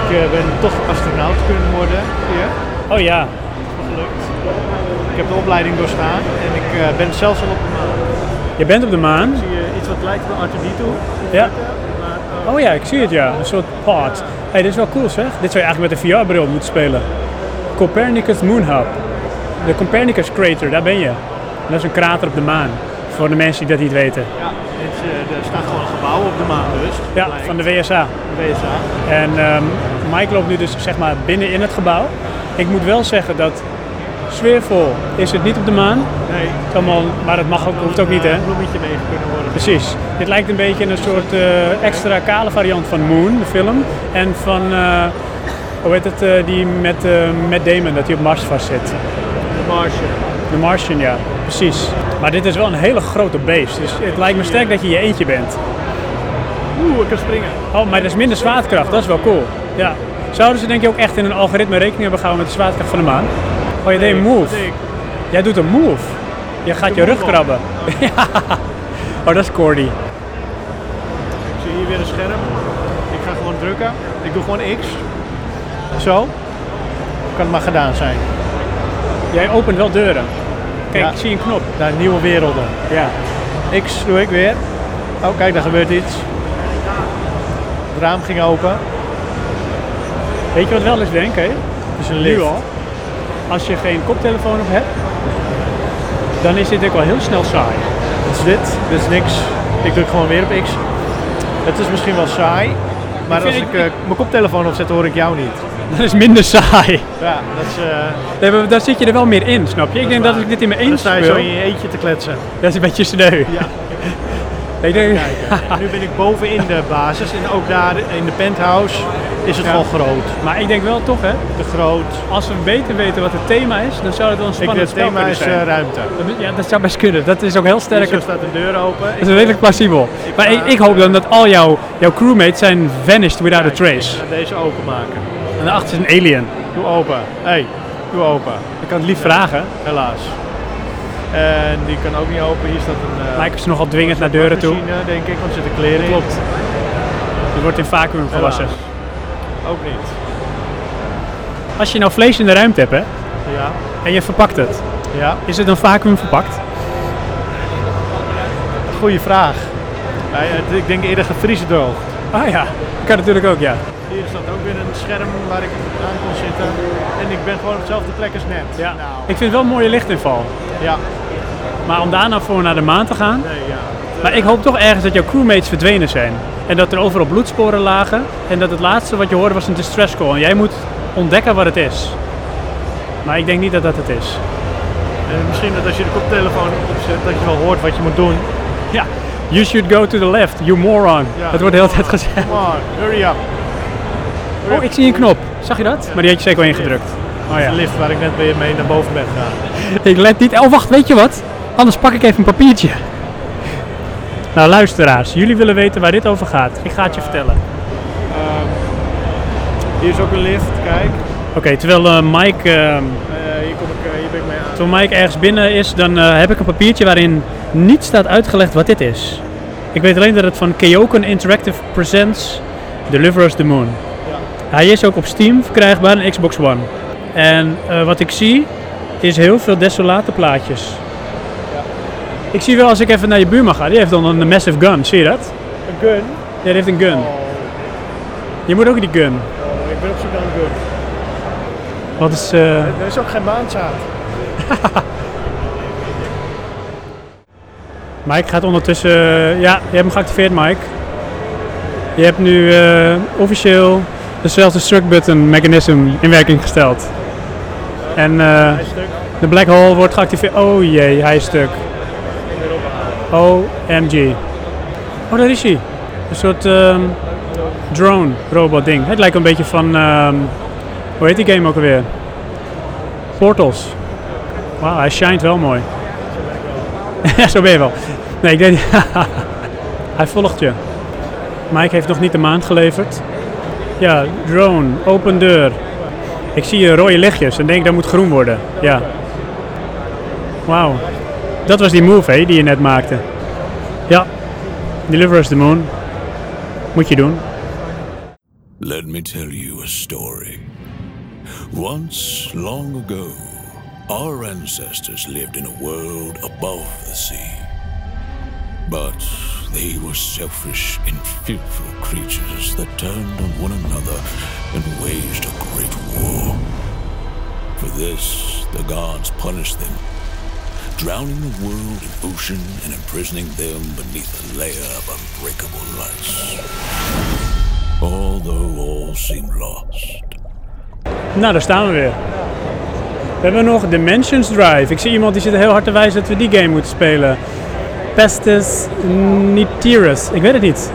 [SPEAKER 2] Ik eh, ben toch astronaut kunnen worden. Ja.
[SPEAKER 1] Oh ja,
[SPEAKER 2] Gelukt. Ik heb de opleiding doorstaan en ik eh, ben zelfs al op de maan.
[SPEAKER 1] je bent op de maan.
[SPEAKER 2] Zie je iets wat lijkt op een R2D2?
[SPEAKER 1] Ja.
[SPEAKER 2] Maar, eh,
[SPEAKER 1] Oh ja, ik zie het ja. Een soort pod. hey, dit is wel cool zeg. Dit zou je eigenlijk met een VR-bril moeten spelen. Copernicus Moon Hub. De Copernicus Crater, daar ben je. En dat is een krater op de maan. Voor de mensen die dat niet weten.
[SPEAKER 2] ja, dit, eh, er staat gewoon een gebouw op de maan dus.
[SPEAKER 1] Ja,
[SPEAKER 2] Lijkt.
[SPEAKER 1] van de WSA.
[SPEAKER 2] WSA.
[SPEAKER 1] En ehm, Mike loopt nu dus zeg maar binnen in het gebouw. Ik moet wel zeggen dat sfeervol is het niet op de maan. Het
[SPEAKER 2] Nee.
[SPEAKER 1] is allemaal, maar dat mag ook, hoeft ook niet hè.
[SPEAKER 2] Een eh, bloemetje mee kunnen worden.
[SPEAKER 1] Precies. Dit lijkt een beetje een soort eh, extra kale variant van Moon, de film. En van, eh, hoe heet het, eh, die met, eh met Damon, dat hij op Mars vastzit.
[SPEAKER 2] De Martian.
[SPEAKER 1] De Martian, ja. Precies. Maar dit is wel een hele grote beest. Dus het lijkt me sterk dat je je eentje bent.
[SPEAKER 2] Oeh, ik kan springen.
[SPEAKER 1] Oh, maar dat is minder zwaartekracht. Dat is wel cool. Ja. Zouden ze denk je ook echt in een algoritme rekening hebben gehouden met de zwaartekracht van de maan? Oh, je deed een move.
[SPEAKER 2] Wat ik.
[SPEAKER 1] Jij doet een move. Je gaat je rug
[SPEAKER 2] move op.
[SPEAKER 1] krabben. Ja. Oh, dat is Cordy.
[SPEAKER 2] Ik zie hier weer een scherm. Ik ga gewoon drukken. Ik doe gewoon X. Zo. Kan het maar gedaan zijn.
[SPEAKER 1] Jij opent wel deuren. Kijk,
[SPEAKER 2] Ja.
[SPEAKER 1] ik zie een knop.
[SPEAKER 2] Naar nieuwe werelden.
[SPEAKER 1] Ja.
[SPEAKER 2] X doe ik weer. Oh, kijk, daar gebeurt iets. Het raam ging open.
[SPEAKER 1] Weet je wat wel eens denk, hè?
[SPEAKER 2] Het is een lift.
[SPEAKER 1] Nu al. Als je geen koptelefoon op hebt, dan is dit ook wel heel snel saai.
[SPEAKER 2] Wat is dit? Dit is niks. Ik druk gewoon weer op X. Het is misschien wel saai. Maar
[SPEAKER 1] Ik
[SPEAKER 2] als
[SPEAKER 1] vind
[SPEAKER 2] ik
[SPEAKER 1] het-
[SPEAKER 2] eh, mijn koptelefoon opzet, hoor ik jou niet.
[SPEAKER 1] Dat is minder saai.
[SPEAKER 2] Ja, dat is... eh,
[SPEAKER 1] Nee, maar daar zit je er wel meer in, snap je? Ik denk dat ik dit in mijn
[SPEAKER 2] dan
[SPEAKER 1] eens
[SPEAKER 2] sta je zo
[SPEAKER 1] speel,
[SPEAKER 2] in je eentje te kletsen.
[SPEAKER 1] dat is een beetje sneu.
[SPEAKER 2] Ja.
[SPEAKER 1] Ik denk,
[SPEAKER 2] Kijken. En eh, nu ben ik boven in de basis. En ook daar in de penthouse is het
[SPEAKER 1] Ja.
[SPEAKER 2] wel groot.
[SPEAKER 1] maar ik denk wel toch, hè?
[SPEAKER 2] Te groot.
[SPEAKER 1] Als we beter weten wat het thema is, dan zou het wel een
[SPEAKER 2] Ik,
[SPEAKER 1] spannend
[SPEAKER 2] het
[SPEAKER 1] spel
[SPEAKER 2] thema
[SPEAKER 1] kunnen
[SPEAKER 2] is
[SPEAKER 1] zijn.
[SPEAKER 2] eh, ruimte.
[SPEAKER 1] Dat- ja, dat zou best kunnen. Dat is ook heel sterk.
[SPEAKER 2] Zo
[SPEAKER 1] Het
[SPEAKER 2] staat de deur open.
[SPEAKER 1] dat is redelijk plausibel. Maar ik, ik hoop dan dat al jouw, jouw crewmates zijn vanished without a trace.
[SPEAKER 2] Deze openmaken.
[SPEAKER 1] En daarachter is een alien.
[SPEAKER 2] Doe open. hey, doe open.
[SPEAKER 1] Ik kan het lief vragen.
[SPEAKER 2] Helaas. En die kan ook niet open. Hier staat een eh,
[SPEAKER 1] Lijken ze nogal dwingend naar deuren toe.
[SPEAKER 2] wasmachine, denk ik, want er zitten kleren in.
[SPEAKER 1] Klopt. Die wordt in vacuüm gewassen.
[SPEAKER 2] Ook niet.
[SPEAKER 1] Als je nou vlees in de ruimte hebt hè,
[SPEAKER 2] Ja.
[SPEAKER 1] en je verpakt het,
[SPEAKER 2] Ja.
[SPEAKER 1] is het een vacuüm verpakt?
[SPEAKER 2] Goeie vraag. Wij, eh, ik denk eerder gevriesdroogd.
[SPEAKER 1] Ah ja, kan natuurlijk ook, ja.
[SPEAKER 2] Hier staat ook weer een scherm waar ik aan kon zitten. En ik ben gewoon op dezelfde plek als net.
[SPEAKER 1] ja.
[SPEAKER 2] Nou,
[SPEAKER 1] Ik vind wel een mooie lichtinval.
[SPEAKER 2] ja.
[SPEAKER 1] Maar om daarna voor naar de maan te gaan.
[SPEAKER 2] Nee, ja.
[SPEAKER 1] Maar ik hoop toch ergens dat jouw crewmates verdwenen zijn. En dat er overal bloedsporen lagen. En dat het laatste wat je hoorde was een distress call. En jij moet ontdekken wat het is. Maar ik denk niet dat dat het is.
[SPEAKER 2] Eh, misschien dat als je de koptelefoon opzet, dat je wel hoort wat je moet doen.
[SPEAKER 1] Ja. You should go to the left, you moron.
[SPEAKER 2] Ja.
[SPEAKER 1] Dat wordt de hele tijd gezegd.
[SPEAKER 2] Come on, hurry up.
[SPEAKER 1] Oh, ik zie een knop. Zag je dat? Maar die had je zeker al ingedrukt. Oh
[SPEAKER 2] De
[SPEAKER 1] ja.
[SPEAKER 2] lift waar ik net weer mee naar boven ben gegaan.
[SPEAKER 1] Ik let niet. Oh, wacht, weet je wat? Anders pak ik even een papiertje. Nou, luisteraars, jullie willen weten waar dit over gaat. Ik ga het je vertellen.
[SPEAKER 2] Hier is ook een lift, kijk.
[SPEAKER 1] Oké, terwijl eh, Mike. ehm,
[SPEAKER 2] Eh, hier, kom ik, eh, hier ben ik mee aan.
[SPEAKER 1] Toen Mike ergens binnen is, dan eh, heb ik een papiertje waarin niet staat uitgelegd wat dit is. Ik weet alleen dat het van Keoken Interactive Presents Deliver Us the Moon. Hij is ook op Steam verkrijgbaar en Xbox One. En eh, wat ik zie is heel veel desolate plaatjes. Ik zie wel als ik even naar je buurman ga, die heeft dan een massive gun, zie je dat?
[SPEAKER 2] Een gun.
[SPEAKER 1] Ja, die heeft een gun. Je moet ook die gun.
[SPEAKER 2] Oh, ik ben op zoek naar een gun.
[SPEAKER 1] Wat is... eh,
[SPEAKER 2] Er is ook geen baanzaad.
[SPEAKER 1] Mike gaat ondertussen. eh, ja, je hebt hem geactiveerd, Mike. Je hebt nu eh, officieel dezelfde struck button mechanism in werking gesteld. En eh,
[SPEAKER 2] Hij is stuk.
[SPEAKER 1] de black hole wordt geactiveerd. Oh jee, hij is stuk. OMG. Oh, daar is hij. Een soort ehm, drone robot ding. Het lijkt een beetje van. ehm, hoe heet die game ook alweer? Portals. Wauw, hij shined wel mooi. Ja, zo ben je wel. Nee, ik denk. Hij volgt je. Mike heeft nog niet de maand geleverd. Ja, drone, open deur. Ik zie eh, rode lichtjes en denk dat moet groen worden. Ja. Wauw. Dat was die move hé, die je net maakte. Ja. Deliver us the moon. Moet je doen.
[SPEAKER 10] Let me tell you a story. Once, long ago, our ancestors lived in a world above the sea. But they were selfish and fearful creatures that turned on one another and waged a great war. For this, the gods punished them, drowning the world in ocean and imprisoning them beneath a layer of unbreakable ice. Although all seemed lost,
[SPEAKER 1] Nou, daar staan we weer. We hebben nog Dimensions Drive. Ik zie iemand die zit heel hard te wijzen dat we die game moeten spelen. Pestis Nitirus. Ik weet het niet.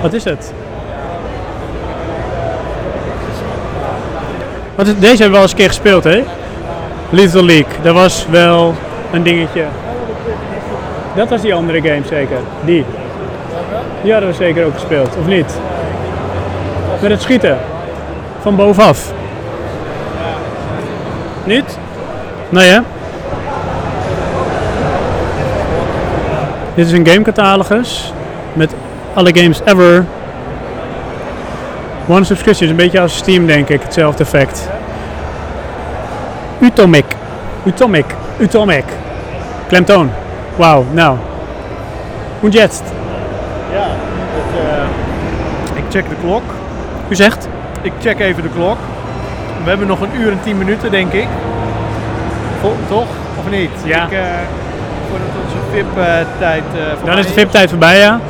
[SPEAKER 1] Wat is het? Wat is, deze hebben we wel eens een keer gespeeld, hè? Little League. Dat was wel een dingetje. Dat was die andere game zeker. Die. Die hadden we zeker ook gespeeld, of niet? Met het schieten van bovenaf. Niet? Nee hè? Dit is een gamecatalogus met alle games ever. One subscription is een beetje als Steam denk ik, hetzelfde effect. Utomic. Utomic. Utomic. Klemtoon. Wauw, nou. Und jetzt?
[SPEAKER 2] Ja. Het, eh, ik check de klok.
[SPEAKER 1] U zegt?
[SPEAKER 2] Ik check even de klok. We hebben nog een uur en tien minuten, denk ik. Vo- toch? Of niet?
[SPEAKER 1] Ja.
[SPEAKER 2] Ik, eh, voordat onze VIP-tijd eh,
[SPEAKER 1] Dan is de VIP-tijd voorbij, ja.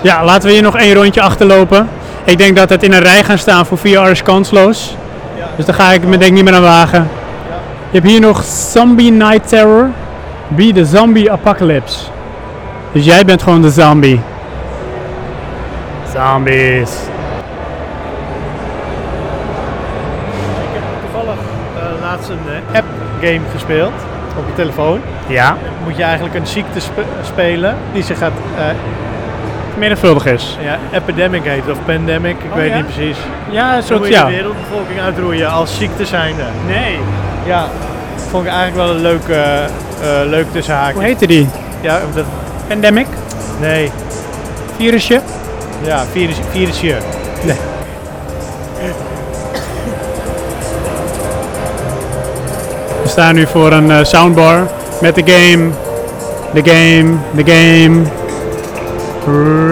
[SPEAKER 1] Ja, laten we hier nog één rondje achterlopen. Ik denk dat het in een rij gaan staan voor VR is kansloos. Dus daar ga ik me denk ik niet meer aan wagen. Je hebt hier nog Zombie Night Terror. Be the Zombie Apocalypse. Dus jij bent gewoon de zombie. Zombies.
[SPEAKER 2] Ik heb toevallig eh, laatst een eh, app-game gespeeld op je telefoon.
[SPEAKER 1] Ja.
[SPEAKER 2] Moet je eigenlijk een ziekte spe- spelen die zich gaat... eh,
[SPEAKER 1] Menigvuldig is.
[SPEAKER 2] ja, epidemic heet of pandemic, ik weet
[SPEAKER 1] Oh, ja?
[SPEAKER 2] niet precies.
[SPEAKER 1] Ja, een
[SPEAKER 2] Zo
[SPEAKER 1] soort
[SPEAKER 2] moet je de
[SPEAKER 1] ja.
[SPEAKER 2] wereldbevolking uitroeien als ziekte zijnde.
[SPEAKER 1] Nee.
[SPEAKER 2] Ja, vond ik eigenlijk wel een leuk, eh, eh, leuk tussenhaak.
[SPEAKER 1] Hoe heette die?
[SPEAKER 2] Ja, dat,
[SPEAKER 1] Pandemic?
[SPEAKER 2] nee.
[SPEAKER 1] Virusje?
[SPEAKER 2] Ja, virus, virusje.
[SPEAKER 1] We staan nu voor een eh, soundbar met de game. De game, de game.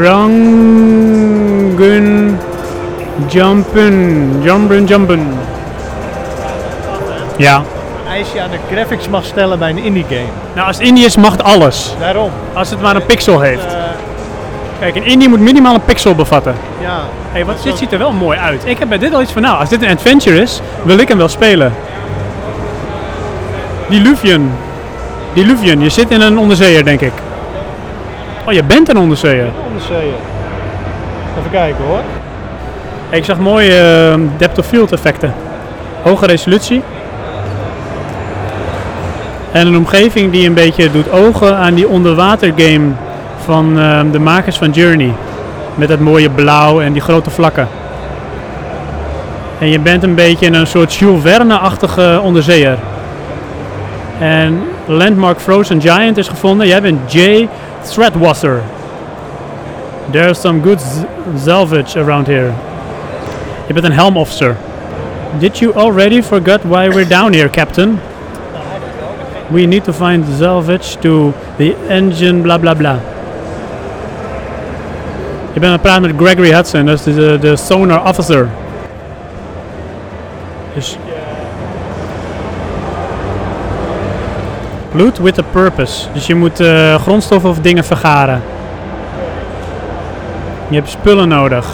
[SPEAKER 1] Rangun Jumpen, Jumpen, Jumpen. Ja.
[SPEAKER 2] Eis je aan de graphics mag stellen bij een indie game.
[SPEAKER 1] Nou, als het indie is, mag het alles.
[SPEAKER 2] Daarom.
[SPEAKER 1] Als het maar een pixel heeft.
[SPEAKER 2] Eh,
[SPEAKER 1] Kijk, een indie moet minimaal een pixel bevatten.
[SPEAKER 2] ja.
[SPEAKER 1] Hé, wat dit ziet er wel mooi uit. Ik heb bij dit al iets van, nou, als dit een adventure is, wil ik hem wel spelen. Diluvian. Diluvian, je zit in een onderzeeër, denk ik. Oh, je bent een onderzeeër.
[SPEAKER 2] Onderzeeën. Even kijken hoor.
[SPEAKER 1] Hey, ik zag mooie eh, depth of field effecten. Hoge resolutie. En een omgeving die een beetje doet ogen aan die onderwater game van eh, de makers van Journey. Met dat mooie blauw en die grote vlakken. En je bent een beetje in een soort Jules Verne-achtige onderzeeër. En Landmark Frozen Giant is gevonden. Jij bent J. Threadwasser. There's some good z- salvage around here. Je bent een helm officer. Did you already forget why we're down here, Captain? We need to find salvage to the engine, bla bla bla. Je bent aan het praten met Gregory Hudson, dat is de, de sonar officer. Dus. Loot with a purpose. Dus je moet eh, grondstoffen of dingen vergaren. Je hebt spullen nodig.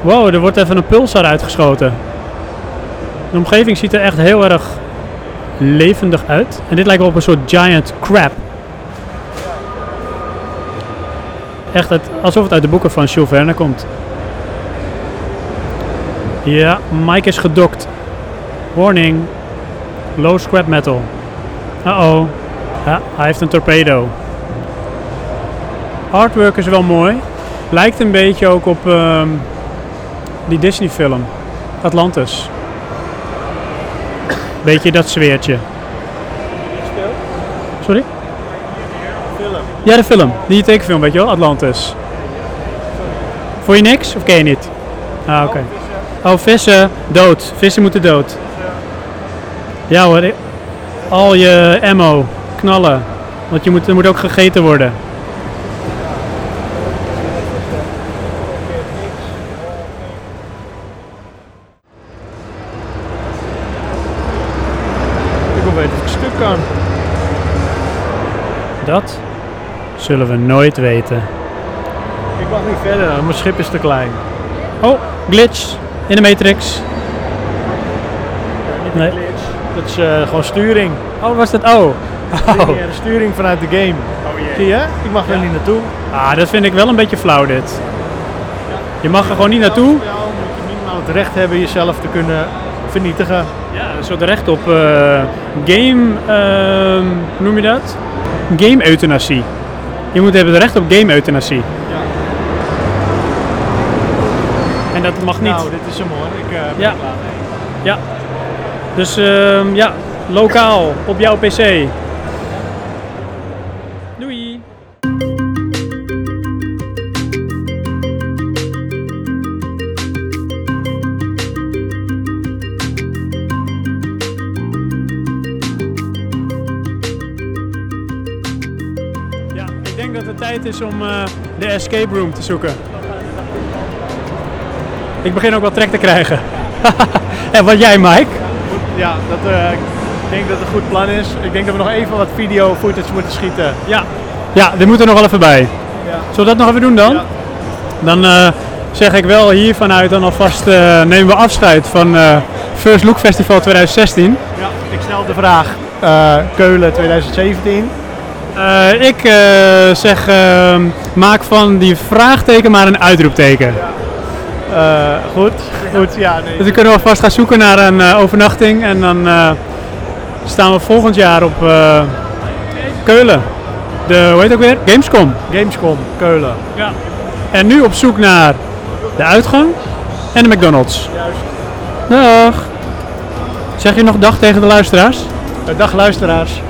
[SPEAKER 1] Wow, er wordt even een pulsar uitgeschoten. De omgeving ziet er echt heel erg levendig uit. En dit lijkt wel op een soort giant crab. Echt het, alsof het uit de boeken van Jules Verne komt. Ja, Mike is gedokt. Warning. Low scrap metal. Uh-oh. Ja, hij heeft een torpedo. Artwork is wel mooi. Lijkt een beetje ook op... ehm, die Disney-film, Atlantis. Beetje dat zweertje. Sorry? Ja, de film. Die tekenfilm, weet je wel, Atlantis. Vond je niks of ken je niet? Ah, oké. Oh, vissen, dood. Vissen moeten dood. Ja hoor, ik- al je ammo, knallen. Want je moet, er moet ook gegeten worden.
[SPEAKER 2] Ik wil weten of ik stuk kan.
[SPEAKER 1] Dat zullen we nooit weten.
[SPEAKER 2] Ik mag niet verder, mijn schip is te klein.
[SPEAKER 1] Oh, glitch in de Matrix.
[SPEAKER 2] Niet
[SPEAKER 1] Nee.
[SPEAKER 2] een glitch. Dat is eh, gewoon sturing.
[SPEAKER 1] Oh, was dat? Oh. oh.
[SPEAKER 2] Lineaire sturing vanuit de game. Zie je? Ik mag er niet naartoe.
[SPEAKER 1] Ah, dat vind ik wel een beetje flauw dit. Je mag er gewoon niet naartoe.
[SPEAKER 2] Zelfs wel moet je minimaal het recht hebben jezelf te kunnen vernietigen.
[SPEAKER 1] Ja, een soort recht op eh, game, ehm, hoe noem je dat? Game euthanasie. Je moet hebben het recht op game euthanasie. En dat mag niet.
[SPEAKER 2] Nou, dit is hem hoor. Ik eh, ben
[SPEAKER 1] Ja.
[SPEAKER 2] er klaar mee.
[SPEAKER 1] Dus ehm, ja, lokaal op jouw PC. Doei. Ja, ik denk dat het tijd is om eh, de escape room te zoeken. Ik begin ook wel trek te krijgen. en wat jij, Mike?
[SPEAKER 2] Ja, dat, eh, ik denk dat het een goed plan is. Ik denk dat we nog even wat video footage moeten schieten.
[SPEAKER 1] Ja. Ja, dit moet er nog wel even bij. Zullen we dat nog even doen dan?
[SPEAKER 2] Ja.
[SPEAKER 1] Dan eh, zeg ik wel hier vanuit dan alvast eh, nemen we afscheid van eh, First Look Festival 2016.
[SPEAKER 2] Ja, ik stel de vraag. eh, Keulen 2017.
[SPEAKER 1] Eh, ik eh, zeg, eh, maak van die vraagteken maar een uitroepteken.
[SPEAKER 2] Eh, goed, goed. Ja, nee.
[SPEAKER 1] Dus dan kunnen we alvast gaan zoeken naar een eh, overnachting en dan eh, staan we volgend jaar op eh, Keulen. De, hoe heet het ook weer? Gamescom.
[SPEAKER 2] Gamescom, Keulen.
[SPEAKER 1] En nu op zoek naar de uitgang en de McDonald's. Juist. Dag. Zeg je nog dag tegen de luisteraars?
[SPEAKER 2] Eh, dag luisteraars.